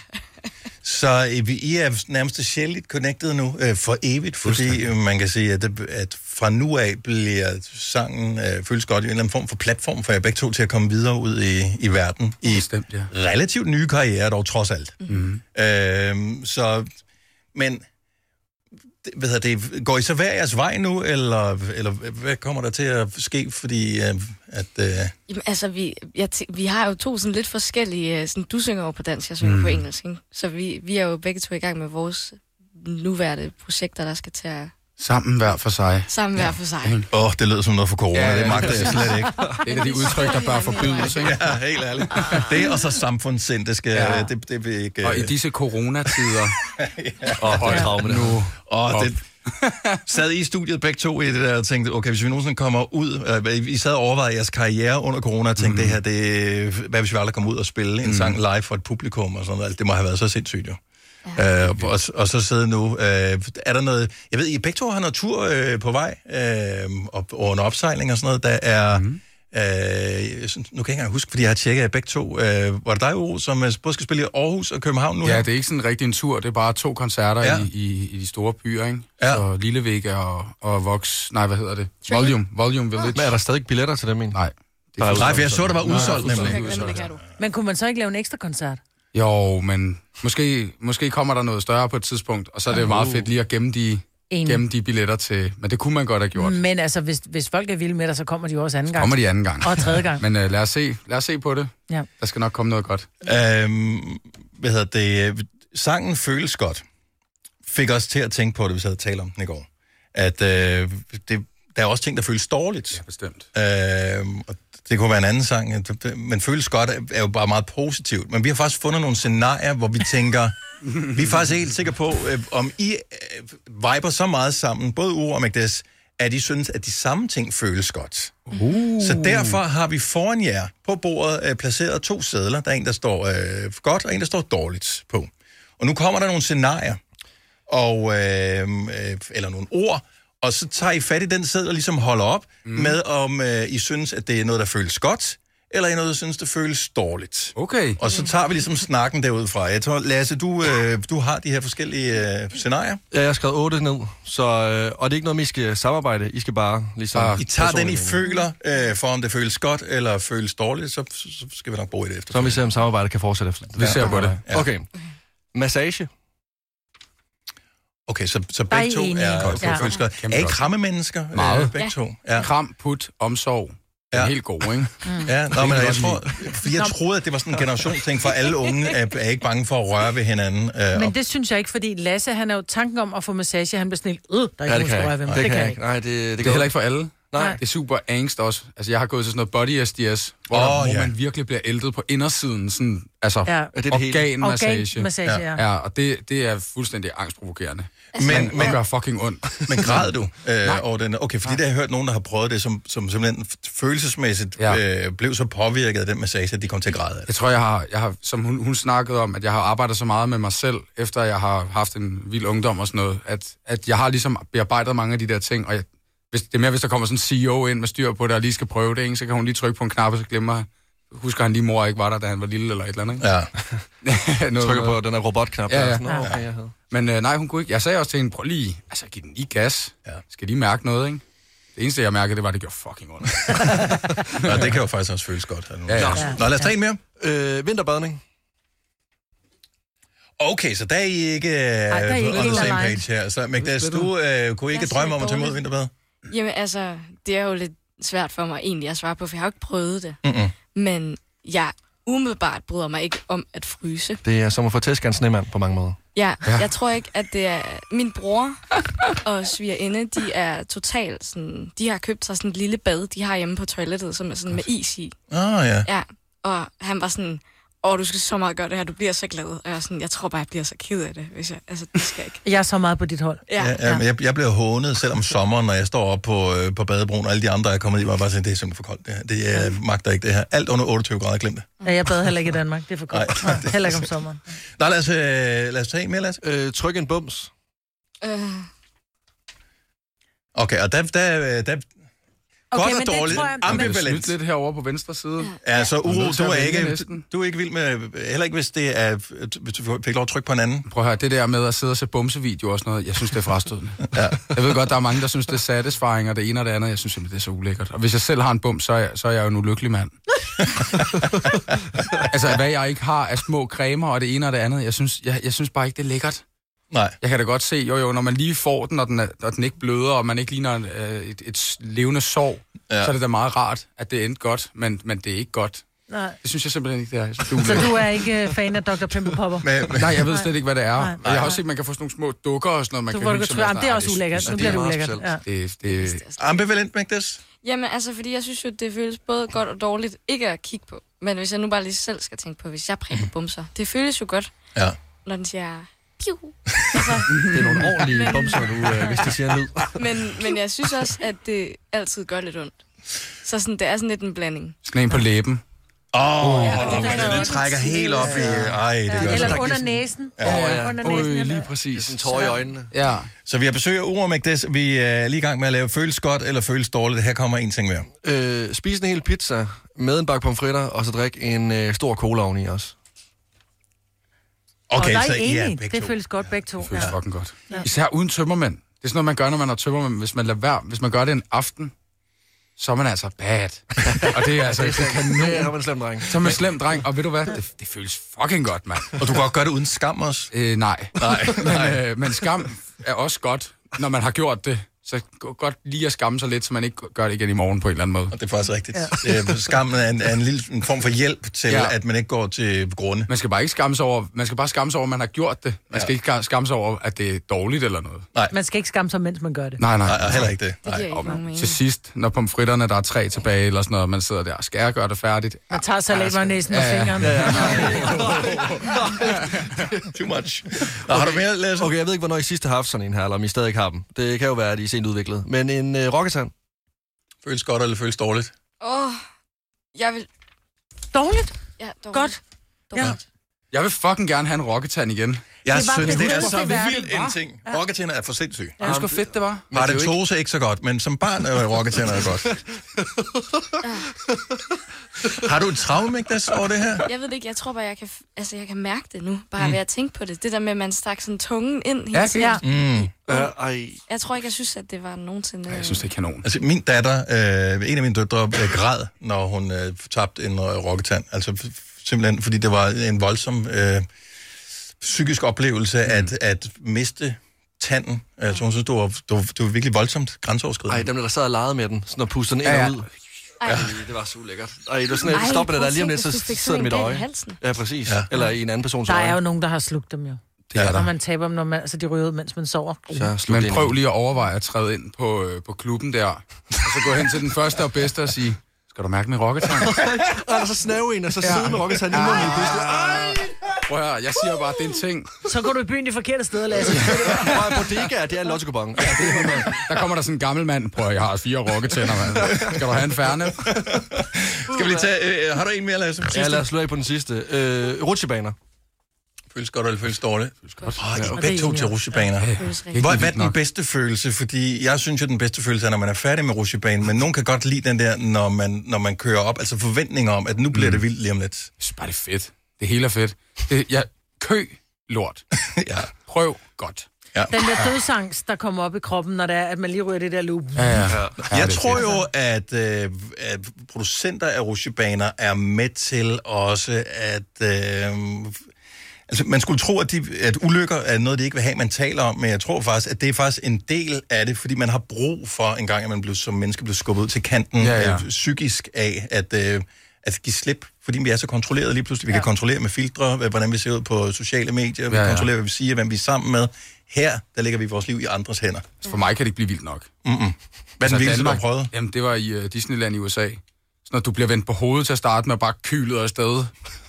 Så øh, vi- I er nærmest sjældent connected nu øh, for evigt, fordi øh, man kan sige, at, det- at fra nu af bliver sangen øh, føles godt i en eller anden form for platform for jer begge to til at komme videre ud i, i verden. I Bestemt, ja. relativt nye karriere dog, trods alt. Mm-hmm. Mm. Øh, så, men det- hvad hedder det, går I så hver jeres vej nu, eller, eller hvad kommer der til at ske, fordi øh, at... Øh, Jamen, altså, vi, jeg tæ- vi har jo to sådan lidt forskellige... øh, Sådan, du synger over på dansk, jeg synger Mm. mm. på engelsk, ikke? Så vi, vi er jo begge to i gang med vores nuværende projekter, der skal til at Sammen hver for sig. sammen hver for sig. Åh, oh, det lød som noget for corona. Ja, Ja, det magter jeg præcis. slet ikke. Det er et af de udtryk, der bør forbydes, ikke? Ja, helt ærligt. Det og så samfundssind, det skal... Ja. Det, det vil ikke... øh, Og i disse coronatider. og højtraumene. Nu. Og det, sad I i studiet begge to i det der og tænkte, okay, hvis vi nogensinde kommer ud... Øh, I sad og overvejede jeres karriere under corona og Mhm. tænkte, mm. det her, det, hvad hvis vi aldrig kommer ud og spille en mm. sang live for et publikum og sådan noget. Altså, Det må have været så sindssygt jo. Ja. Øh, og, og så sidde nu. Øh, er der noget... Jeg ved, I begge to har noget tur øh, på vej, øh, og, og en opsejling og sådan noget, der er... Mhm. Mm. Øh, jeg synes- nu kan jeg ikke engang huske, fordi jeg har tjekket jer begge to. Øh, var det dig, Uro, som øh, både skal spille i Aarhus og København nu? Ja, her? det er ikke sådan rigtig en tur, det er bare to koncerter ja. i, i, i de store byer, ikke? Ja. Så Lillevig og, og Vox, nej, hvad hedder det? Volume, Volume Village. Men er der stadig billetter til dem egentlig? Nej. Det er Nej, for jeg så, der var Nej, udsolgt fuldstændig nemlig. udsolgt. Men kunne man så ikke lave en ekstra koncert? Jo, men måske, måske kommer der noget større på et tidspunkt, og så er det jo meget fedt lige at gemme de, Enig. gemme de billetter til, men det kunne man godt have gjort. Men altså, hvis, hvis folk er vilde med dig, så kommer de jo også anden gang. Kommer de anden gang. Og tredje gang. Men øh, lad, os se, lad os se på det. Ja. Der skal nok komme noget godt. Øhm, hvad hedder det? øh, Sangen Føles Godt fik os til at tænke på det, hvis jeg havde talt om den i går. At øh, det, der er også ting, der føles dårligt. Ja, bestemt. Øhm, og det kunne være en anden sang. at det- det- Men Føles Godt er- er jo bare meget positivt. Men vi har faktisk fundet nogle scenarier, hvor vi tænker... vi er faktisk ikke helt sikre på, øh, om I øh, viber så meget sammen, både Uro og Magdes, at I synes, at de samme ting føles godt. Uh. Så derfor har vi foran jer på bordet øh, placeret to sædler. Der er en, der står øh, godt, og en, der står dårligt på. Og nu kommer der nogle scenarier, og, øh, øh, eller nogle ord, og så tager I fat i den sædel og ligesom holder op mm. med, om øh, I synes, at det er noget, der føles godt, eller I er noget, der synes, det føles dårligt. Okay. Og så tager vi ligesom snakken derudfra. Jeg tror, Lasse, du, øh, du har de her forskellige øh, scenarier. Ja, jeg har skrevet 8 ned, så, øh, og det er ikke noget, med, I skal samarbejde. I skal bare ligesom... Ah, I tager den, I føler, øh, for om det føles godt eller føles dårligt, så, så så skal vi nok bruge det efter. Så må vi se, om samarbejdet kan fortsætte efter. Vi ser på det. Ja. Okay. Massage. Okay, så, så Der er begge I to enige. er Godt. godt, Ja. føles godt. Kæmpe Er I Øh, godt. kramme mennesker? Meget. Begge Ja. to. Kram, put, omsorg. Den er helt god, ikke? Mm. Ja, nå, men jeg tror, fordi jeg troede, at det var sådan en generationsting, for alle unge er, er ikke bange for at røre ved hinanden. Øh, Men altså, og- det synes jeg ikke, fordi Lasse, han er jo tanken om at få massage, han bliver sådan helt, øh, der er ikke Ja, det nogen, kan der jeg rører ved ikke. mig. Nej, det kan jeg jeg ikke. Nej, det, det, det er heller ikke for alle. Nej. Det er super angst også. Altså, jeg har gået til sådan noget body SDS, hvor, oh, der, Åh, hvor ja. man virkelig bliver ældet på indersiden. Sådan, altså, Ja. ja. Er det det det hele? organmassage. Organmassage, ja. Altså, ja. og det, det er fuldstændig angstprovokerende. Men- Men, men- man gør fucking ondt. Men græd du øh, over den? Okay, fordi det har jeg hørt nogen, der har prøvet det, som, som simpelthen f- følelsesmæssigt ja. øh, blev så påvirket af den massage, at de kom til at græde. af det. Jeg tror, jeg har, jeg har som hun, hun snakkede om, at jeg har arbejdet så meget med mig selv, efter jeg har haft en vild ungdom og sådan noget, at, at jeg har ligesom bearbejdet mange af de der ting, og jeg, hvis, det er mere, hvis der kommer sådan en CEO ind med styr på det, og lige skal prøve det, ikke, så kan hun lige trykke på en knap, og så glemmer husker han lige, mor ikke var der, da han var lille eller et eller andet, ikke? Ja. noget, Trykker noget. på den her robotknap. Ja, der, ja. sådan, "Nå, Ah, okay, jeg havde." Men øh, nej, hun kunne ikke. Jeg sagde også til hende, prøv lige, altså giv den lige gas. Ja. Skal de mærke noget, ikke? Det eneste, jeg mærkede, det var, at det gjorde fucking ondt. Nå, det kan jo faktisk også føles godt. at nogen- Ja, ja. Nå, Nå, lad os tage en mere. Øh, vinterbadning. Okay, så der er I ikke, øh, Ej, der er I ikke on the helt same aligned. page her. Så Magdas, du øh, kunne I ikke Jeg er drømme så om at tage imod dårlig. vinterbad? Jamen altså, det er jo lidt svært for mig egentlig at svare på, for jeg har jo ikke prøvet det. Mm-mm. Men jeg umiddelbart bryder mig ikke om at fryse. Det er som at få tæsk af en snemand på mange måder. Ja, Ja. ja. jeg tror ikke, at det er... Min bror og svigerinde, de er totalt sådan... De har købt sig sådan et lille bad, de har hjemme på toilettet, som er sådan med is i. Ah, ja. Ja, og han var sådan... Åh, du skal så meget gøre det her, du bliver så glad. Og jeg, er sådan, jeg tror bare, jeg bliver så ked af det, hvis jeg... Altså, det skal jeg ikke. Jeg er så meget på dit hold. Ja, Ja, ja, men jeg, jeg bliver hånet, selvom sommeren, når jeg står op på, øh, på badebroen, og alle de andre er kommet i, var bare sådan, det er simpelthen for koldt det her. Det jeg Mm. magter ikke det her. Alt under 28 grader, glem det. Ja, jeg bad heller ikke i Danmark, det er for godt. Nej, heller ikke om sommeren. Nå, lad os, øh, lad os tage en mere, Lasse. Øh, tryk en bums. Øh. Okay, og der, der, øh, der, Godt og men det dårligt. tror jeg- Ambivalent. Man bliver snydt lidt herovre på venstre side. Ja, så Man uro, nødt til du at er, vælge ikke, næsten. du er ikke vild med, heller ikke hvis det er, hvis du fik lov at trykke på en anden. Prøv at høre, det der med at sidde og se bumsevideoer og sådan noget, jeg synes, det er frastødende. ja. Jeg ved godt, der er mange, der synes, det er satisfying og det ene og det andet. Jeg synes simpelthen, det er så ulækkert. Og hvis jeg selv har en bum, så er jeg, så er jeg jo en ulykkelig mand. altså, hvad jeg ikke har af små cremer og det ene og det andet, jeg synes, jeg, jeg synes bare ikke, det er lækkert. Nej. Jeg kan da godt se, jo jo, når man lige får den, og den, er, og den ikke bløder, og man ikke ligner en, øh, et, et levende sår, Ja. ja. så er det da meget rart, at det endte godt, men, men det er ikke godt. Nej. Det synes jeg simpelthen ikke, det er. Jeg synes, det er Så ulækkert. du er ikke øh, fan af Dr. Pimple Popper? Nej, jeg ved slet ikke, hvad det er. Nej. Og jeg har også set, at man kan få sådan nogle små dukker og sådan noget. Man Du kan får hygge det sig godt- med. Jamen, det er Nej, også synes- ulækkert. nej, Nu det bliver det er meget ulækkert. specielt. Det, det, Ambivalent, Magdas? Jamen altså, fordi jeg synes jo, det føles både godt og dårligt ikke at kigge på. Men hvis jeg nu bare lige selv skal tænke på, hvis jeg prikker bumser, det føles jo godt, Ja. når den siger piu. Det er nogle ordentlige bumser, du, øh, hvis det siger en lyd. Men, men jeg synes også, at det altid gør lidt ondt. Så sådan, det er sådan lidt en blanding. Sådan en på læben. Åh, oh, Ja, det er den godt. trækker helt op i... øh, Ej, det gør Eller så. under næsen. Under Øj, næsen. lige præcis. Sådan tårer i øjnene. Ja. Så vi har besøg af Uro Magdas. Vi er lige i gang med at lave føles godt eller føles dårligt. Her kommer en ting mere. Øh, spis en hel pizza med en bakke pomfritter, og så drik en øh, stor cola oveni også. og der er så I I er enige. begge det to. føles godt begge to. Det føles Ja. fucking godt. Ja. Især uden tømmermænd. Det er sådan noget, man gør, når man har tømmermænd. Hvis man, lader være, hvis man gør det en aften, så er man altså bad. og det er altså det er kanon. Det er man en slem dreng. Så er man slem dreng, og ved du hvad? Det, det føles fucking godt, mand. Og du kan godt gøre det uden skam også? Øh, nej. Nej, nej. Men, øh, men skam er også godt, når man har gjort det. Så gå- godt lige at skamme sig lidt, så man ikke gør det igen i morgen på en eller anden måde. Og det er faktisk rigtigt. Ja. Øh, skammen er en, er en lille en form for hjælp til, ja. Ja. at man ikke går til grunde. Man skal bare ikke skamme sig over, man skal bare skamme sig over, at man har gjort det. Man skal ikke skamme sig over, at det er dårligt eller noget. Man skal ikke skamme sig, mens man gør det. Nej, nej. Nej, og heller ikke det. Det giver ikke nogen Til mening. sidst, når pomfritterne, der er tre tilbage, eller sådan noget, og man sidder der, skal jeg gøre det færdigt? Man tager salatmagnæsen med Ja, ja. fingeren. Ja, ja, Too much. Nå, har du mere, Lasse? Okay, jeg ved ikke, hvornår I sidst har haft sådan en her, eller om I stadig ikke har dem. Det kan jo være, at I er sent udviklet. Men en øh, rocketand. Føles godt eller føles dårligt? Åh, oh, jeg vil... Dårligt? Ja, dårligt. Godt. Dårligt. Jeg vil fucking gerne have en rocketand igen. Jeg Det var synes, det det er vildeste så i verden, vildt en hva'? ting. Rocketænder er for sindssyge. Ja, det er sgu fedt, det var. Men det er jo Paradentose er ikke så godt, men som barn er rocketænder er godt. Har du et traume, Magdas, over det her? Jeg ved det ikke, jeg tror bare, jeg kan, f- altså, jeg kan mærke det nu, bare mm. ved at tænke på det. Det der med, at man stak sådan tungen ind hele tiden. Mm. Ja, Øh, ej. Jeg tror ikke, jeg synes, at det var nogensinde... Jeg synes, det er kanon. Altså, min datter, øh, en af mine døtre, øh, græd, når hun øh, tabte en øh, rocketand. Altså, f- f- simpelthen, fordi det var en voldsom øh, psykisk oplevelse Mm. at, at miste tanden. Altså, hun synes, det var, det var, det var virkelig voldsomt grænseoverskridende. Ej, dem der sad og legede med den, sådan og pustede den ind Ja, ja, ja. og ud. Ej. Ja, det var så ulækkert. Ej, det var sådan, at stopper det der lige om lidt, så sidder det i mit øje. Ja, præcis. Ja. Eller i en anden persons Der øje. er jo nogen, der har slugt dem jo. Det er der. Når man taber dem, når man, altså de ryger ud, mens man sover. Men prøv lige at overveje at træde ind på, øh, på klubben der, og så gå hen til den første og bedste og sige, skal du mærke min rocketang? Og der så snæve en, og så sidde med rokketand i munden. Prøv at høre, jeg siger bare, det er en ting. Så går du i byen de forkerte steder, Lasse. Prøv at bodega, det er en lottokubon. Ja, det er Der kommer der sådan en gammel mand, prøv at høre, jeg har fire rocketænder, mand. Skal du have en færne? Skal vi lige tage... Øh, har du en mere, Lasse? Ja, lad os slå af på den sidste. Øh, rutsjebaner. Føles godt eller føles dårligt? Føles godt. Ja, Oh, okay. begge to til rusjebaner. Ja, det føles rigtig Hvor, hvad er vildt den nok. bedste følelse? Fordi jeg synes jo, den bedste følelse er, når man er færdig med rusjebanen, men nogen kan godt lide den der, når man, når man kører op. Altså forventninger om, at nu bliver det vildt lige om lidt. Mm. Jeg synes bare, det er fedt. Det hele er fedt. Det, jeg, kø lort. ja. Prøv godt. Ja. Den der dødsangst, der kommer op i kroppen, når det er, at man lige ryger det der loop. Jeg tror jo, at, øh, at producenter af rusjebaner er med til også at... Øh, altså, man skulle tro, at, de, at ulykker er noget, de ikke vil have, man taler om, men jeg tror faktisk, at det er faktisk en del af det, fordi man har brug for en gang, at man blev, som menneske blev skubbet ud til kanten Ja, ja, ja. ja. Øh, psykisk af at, øh, at give slip, fordi vi er så kontrolleret lige pludselig. Vi ja. kan kontrollere med filtre, hvad- hvordan vi ser ud på sociale medier, vi Ja, ja, ja. ja. kontrollerer, hvad vi siger, hvem vi er sammen med. Her, der lægger vi vores liv i andres hænder. Altså, For mig kan det ikke blive vildt nok. Mm-mm. Hvad er den vildeste, du har Altså, Danmark- prøvet? Jamen, det var i øh, Disneyland i USA. Sådan, at du bliver vendt på hovedet til at starte med, og bare kylet afsted.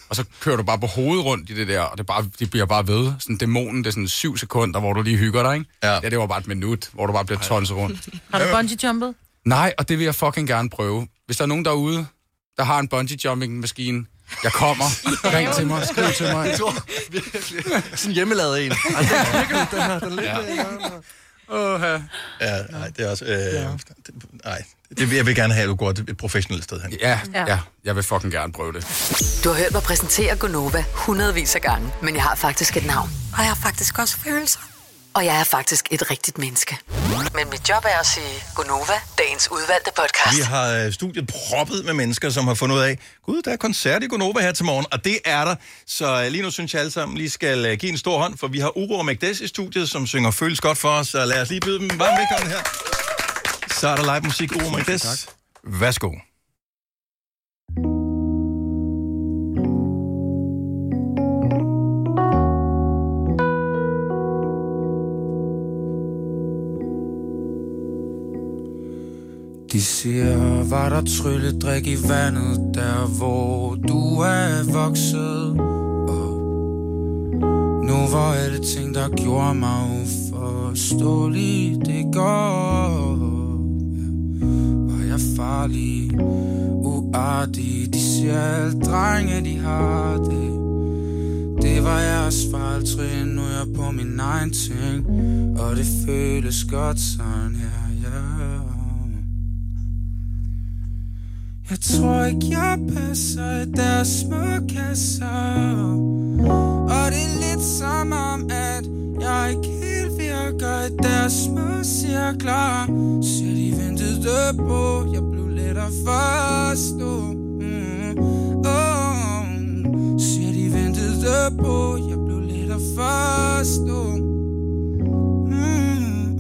Og så kører du bare på hovedet rundt i det der, og det, bare, det bliver bare ved. Sådan dæmonen, det er sådan syv sekunder, hvor du lige hygger dig, ikke? Ja. ja det var bare et minut, hvor du bare bliver tonset rundt. Har du bungee jumpet? Nej, og det vil jeg fucking gerne prøve. Hvis der er nogen derude, der har en bungee jumping maskine, jeg kommer. Ring til mig, skriv til mig. Jeg tror virkelig. Sådan en hjemmelavet en. Ej, den er virkelig, den her. Den er lidt... Ja. Åh, ja. Ja, nej, det er også... Øh, ja. Nej, det, jeg vil gerne have, at du går et et professionelt sted hen. Ja, Ja. ja, jeg vil fucking gerne prøve det. Du har hørt mig præsentere Gonova hundredvis af gange, men jeg har faktisk et navn. Og jeg har faktisk også følelser. Og jeg er faktisk et rigtigt menneske. Men mit job er at sige Gonova, dagens udvalgte podcast. Vi har øh, studiet proppet med mennesker, som har fundet ud af, gud, der er koncert i Gonova her til morgen, og det er der. Så øh, lige nu synes jeg alle sammen lige skal øh, give en stor hånd, for vi har Uro og Magdes i studiet, som synger Føles godt for os, så lad os lige byde dem varmt velkommen her. Så er der live musik, Uro og Magdes. Værsgo. De siger, var der trylledrik i vandet, der hvor du er vokset op. Nu var alle ting, der gjorde mig uforståelig, det går op. Ja. Var jeg farlig, uartig, de siger alle drenge, de har det. Det var jeres fejltrin, nu er jeg på min egen ting, og det føles godt sådan her, ja. Yeah. Jeg tror ikke, jeg passer i deres små kasser Og det er lidt som om, at jeg ikke helt virker i deres små cirkler Siger de ventede på, jeg blev let at forstå mm. oh. Siger de ventede på, jeg blev let at forstå mm.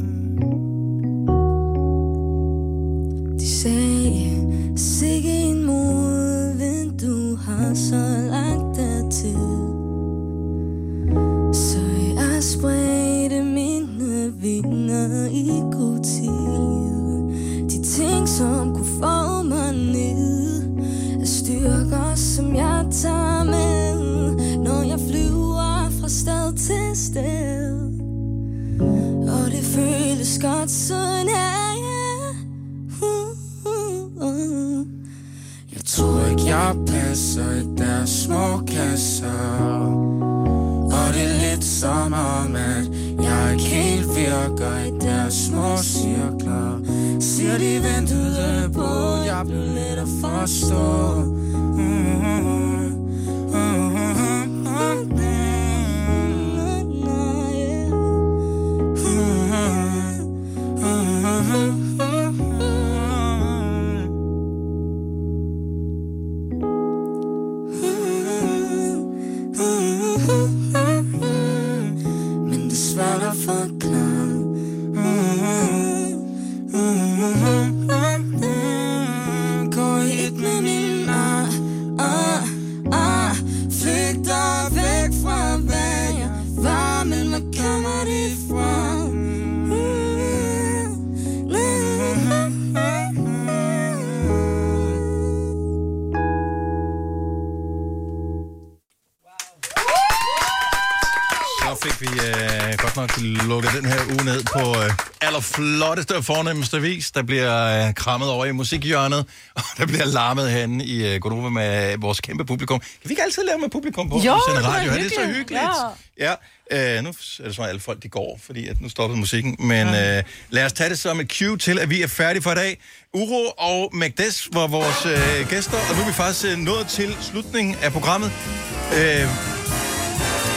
De sagde, sikke en modvind, du har så langt dertil. Så jeg spredte mine vinger i god tid. De ting, som kunne få mig ned, er styrker, som jeg tager med, når jeg flyver fra sted til sted. Og det føles godt sådan Uh, her, ja. Jeg tror ikke, jeg passer i deres små kasser Og det er lidt som om, at jeg ikke helt virker i deres små cirkler Siger de ventede på, jeg blev let at forstå Mhm. Men det er svært at forklare Går vi øh, godt nok lukker den her uge ned på øh, allerflotteste og fornemmeste vis. Der bliver øh, krammet over i musikhjørnet, og der bliver larmet herinde i øh, Godova med øh, vores kæmpe publikum. Kan vi ikke altid lave med publikum på, Jo, når vi sender det er radio? her? Det er så hyggeligt. hyggeligt. Ja. ja øh, nu er det så, at alle folk de går, fordi at nu stopper musikken. Men øh, lad os tage det som et cue til, at vi er færdige for i dag. Uro og Magdes var vores øh, gæster, og nu er vi faktisk øh, nået til slutningen af programmet. Øh,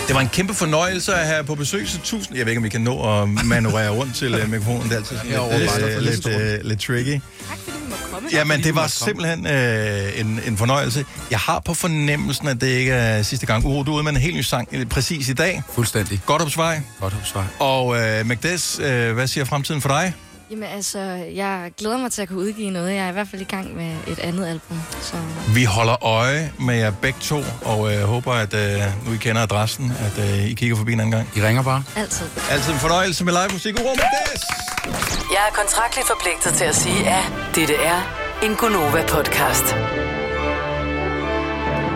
det var en kæmpe fornøjelse at have på besøg, så tusind... Jeg ved ikke, om vi kan nå at manøvrere rundt til uh, mikrofonen. Det er altid sådan Jeg overvejer lidt, for uh, lidt, lidt uh, lidt tricky. Kom Ja, men det var simpelthen øh, en, en fornøjelse. Jeg har på fornemmelsen, at det ikke er sidste gang. Uro, du er ude med en helt ny sang øh, præcis i dag. Fuldstændig. Godthåbsvej. Godthåbsvej. Og øh, Magdes, øh, hvad siger fremtiden for dig? Jamen altså, jeg glæder mig til at kunne udgive noget. Jeg er i hvert fald i gang med et andet album. Så Vi holder øje med jer begge to, og øh, håber, at øh, nu I kender adressen, at øh, I kigger forbi en anden gang. I ringer bare. altid. Altid en fornøjelse med live musik. Uro Magdes! Jeg er kontraktligt forpligtet til at sige, at dette er en Gunova-podcast.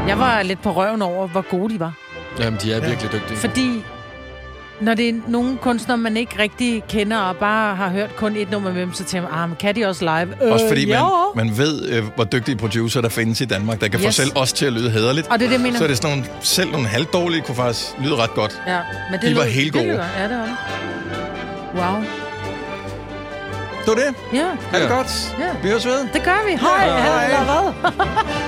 Jeg var lidt på røven over, hvor gode de var. Jamen, de er virkelig dygtige. Fordi når det er nogle kunstnere, man ikke rigtig kender, og bare har hørt kun et nummer med dem, så tænker man, ah, men kan de også live? Også fordi man, jo. man ved, øh, hvor dygtige producer der findes i Danmark, der kan yes. få Yes. selv os til at lyde hæderligt. Og det er det, jeg mener. Så er det sådan nogle, selv nogle halvdårlige kunne faktisk lyde ret godt. Ja, men det De var lød- helt gode. Det lyder- ja, det var det. Wow. Det var det. Ja. Ha' det godt. Ja. Vi høres ved. Det gør vi. Hej, Ja, hej. eller hvad?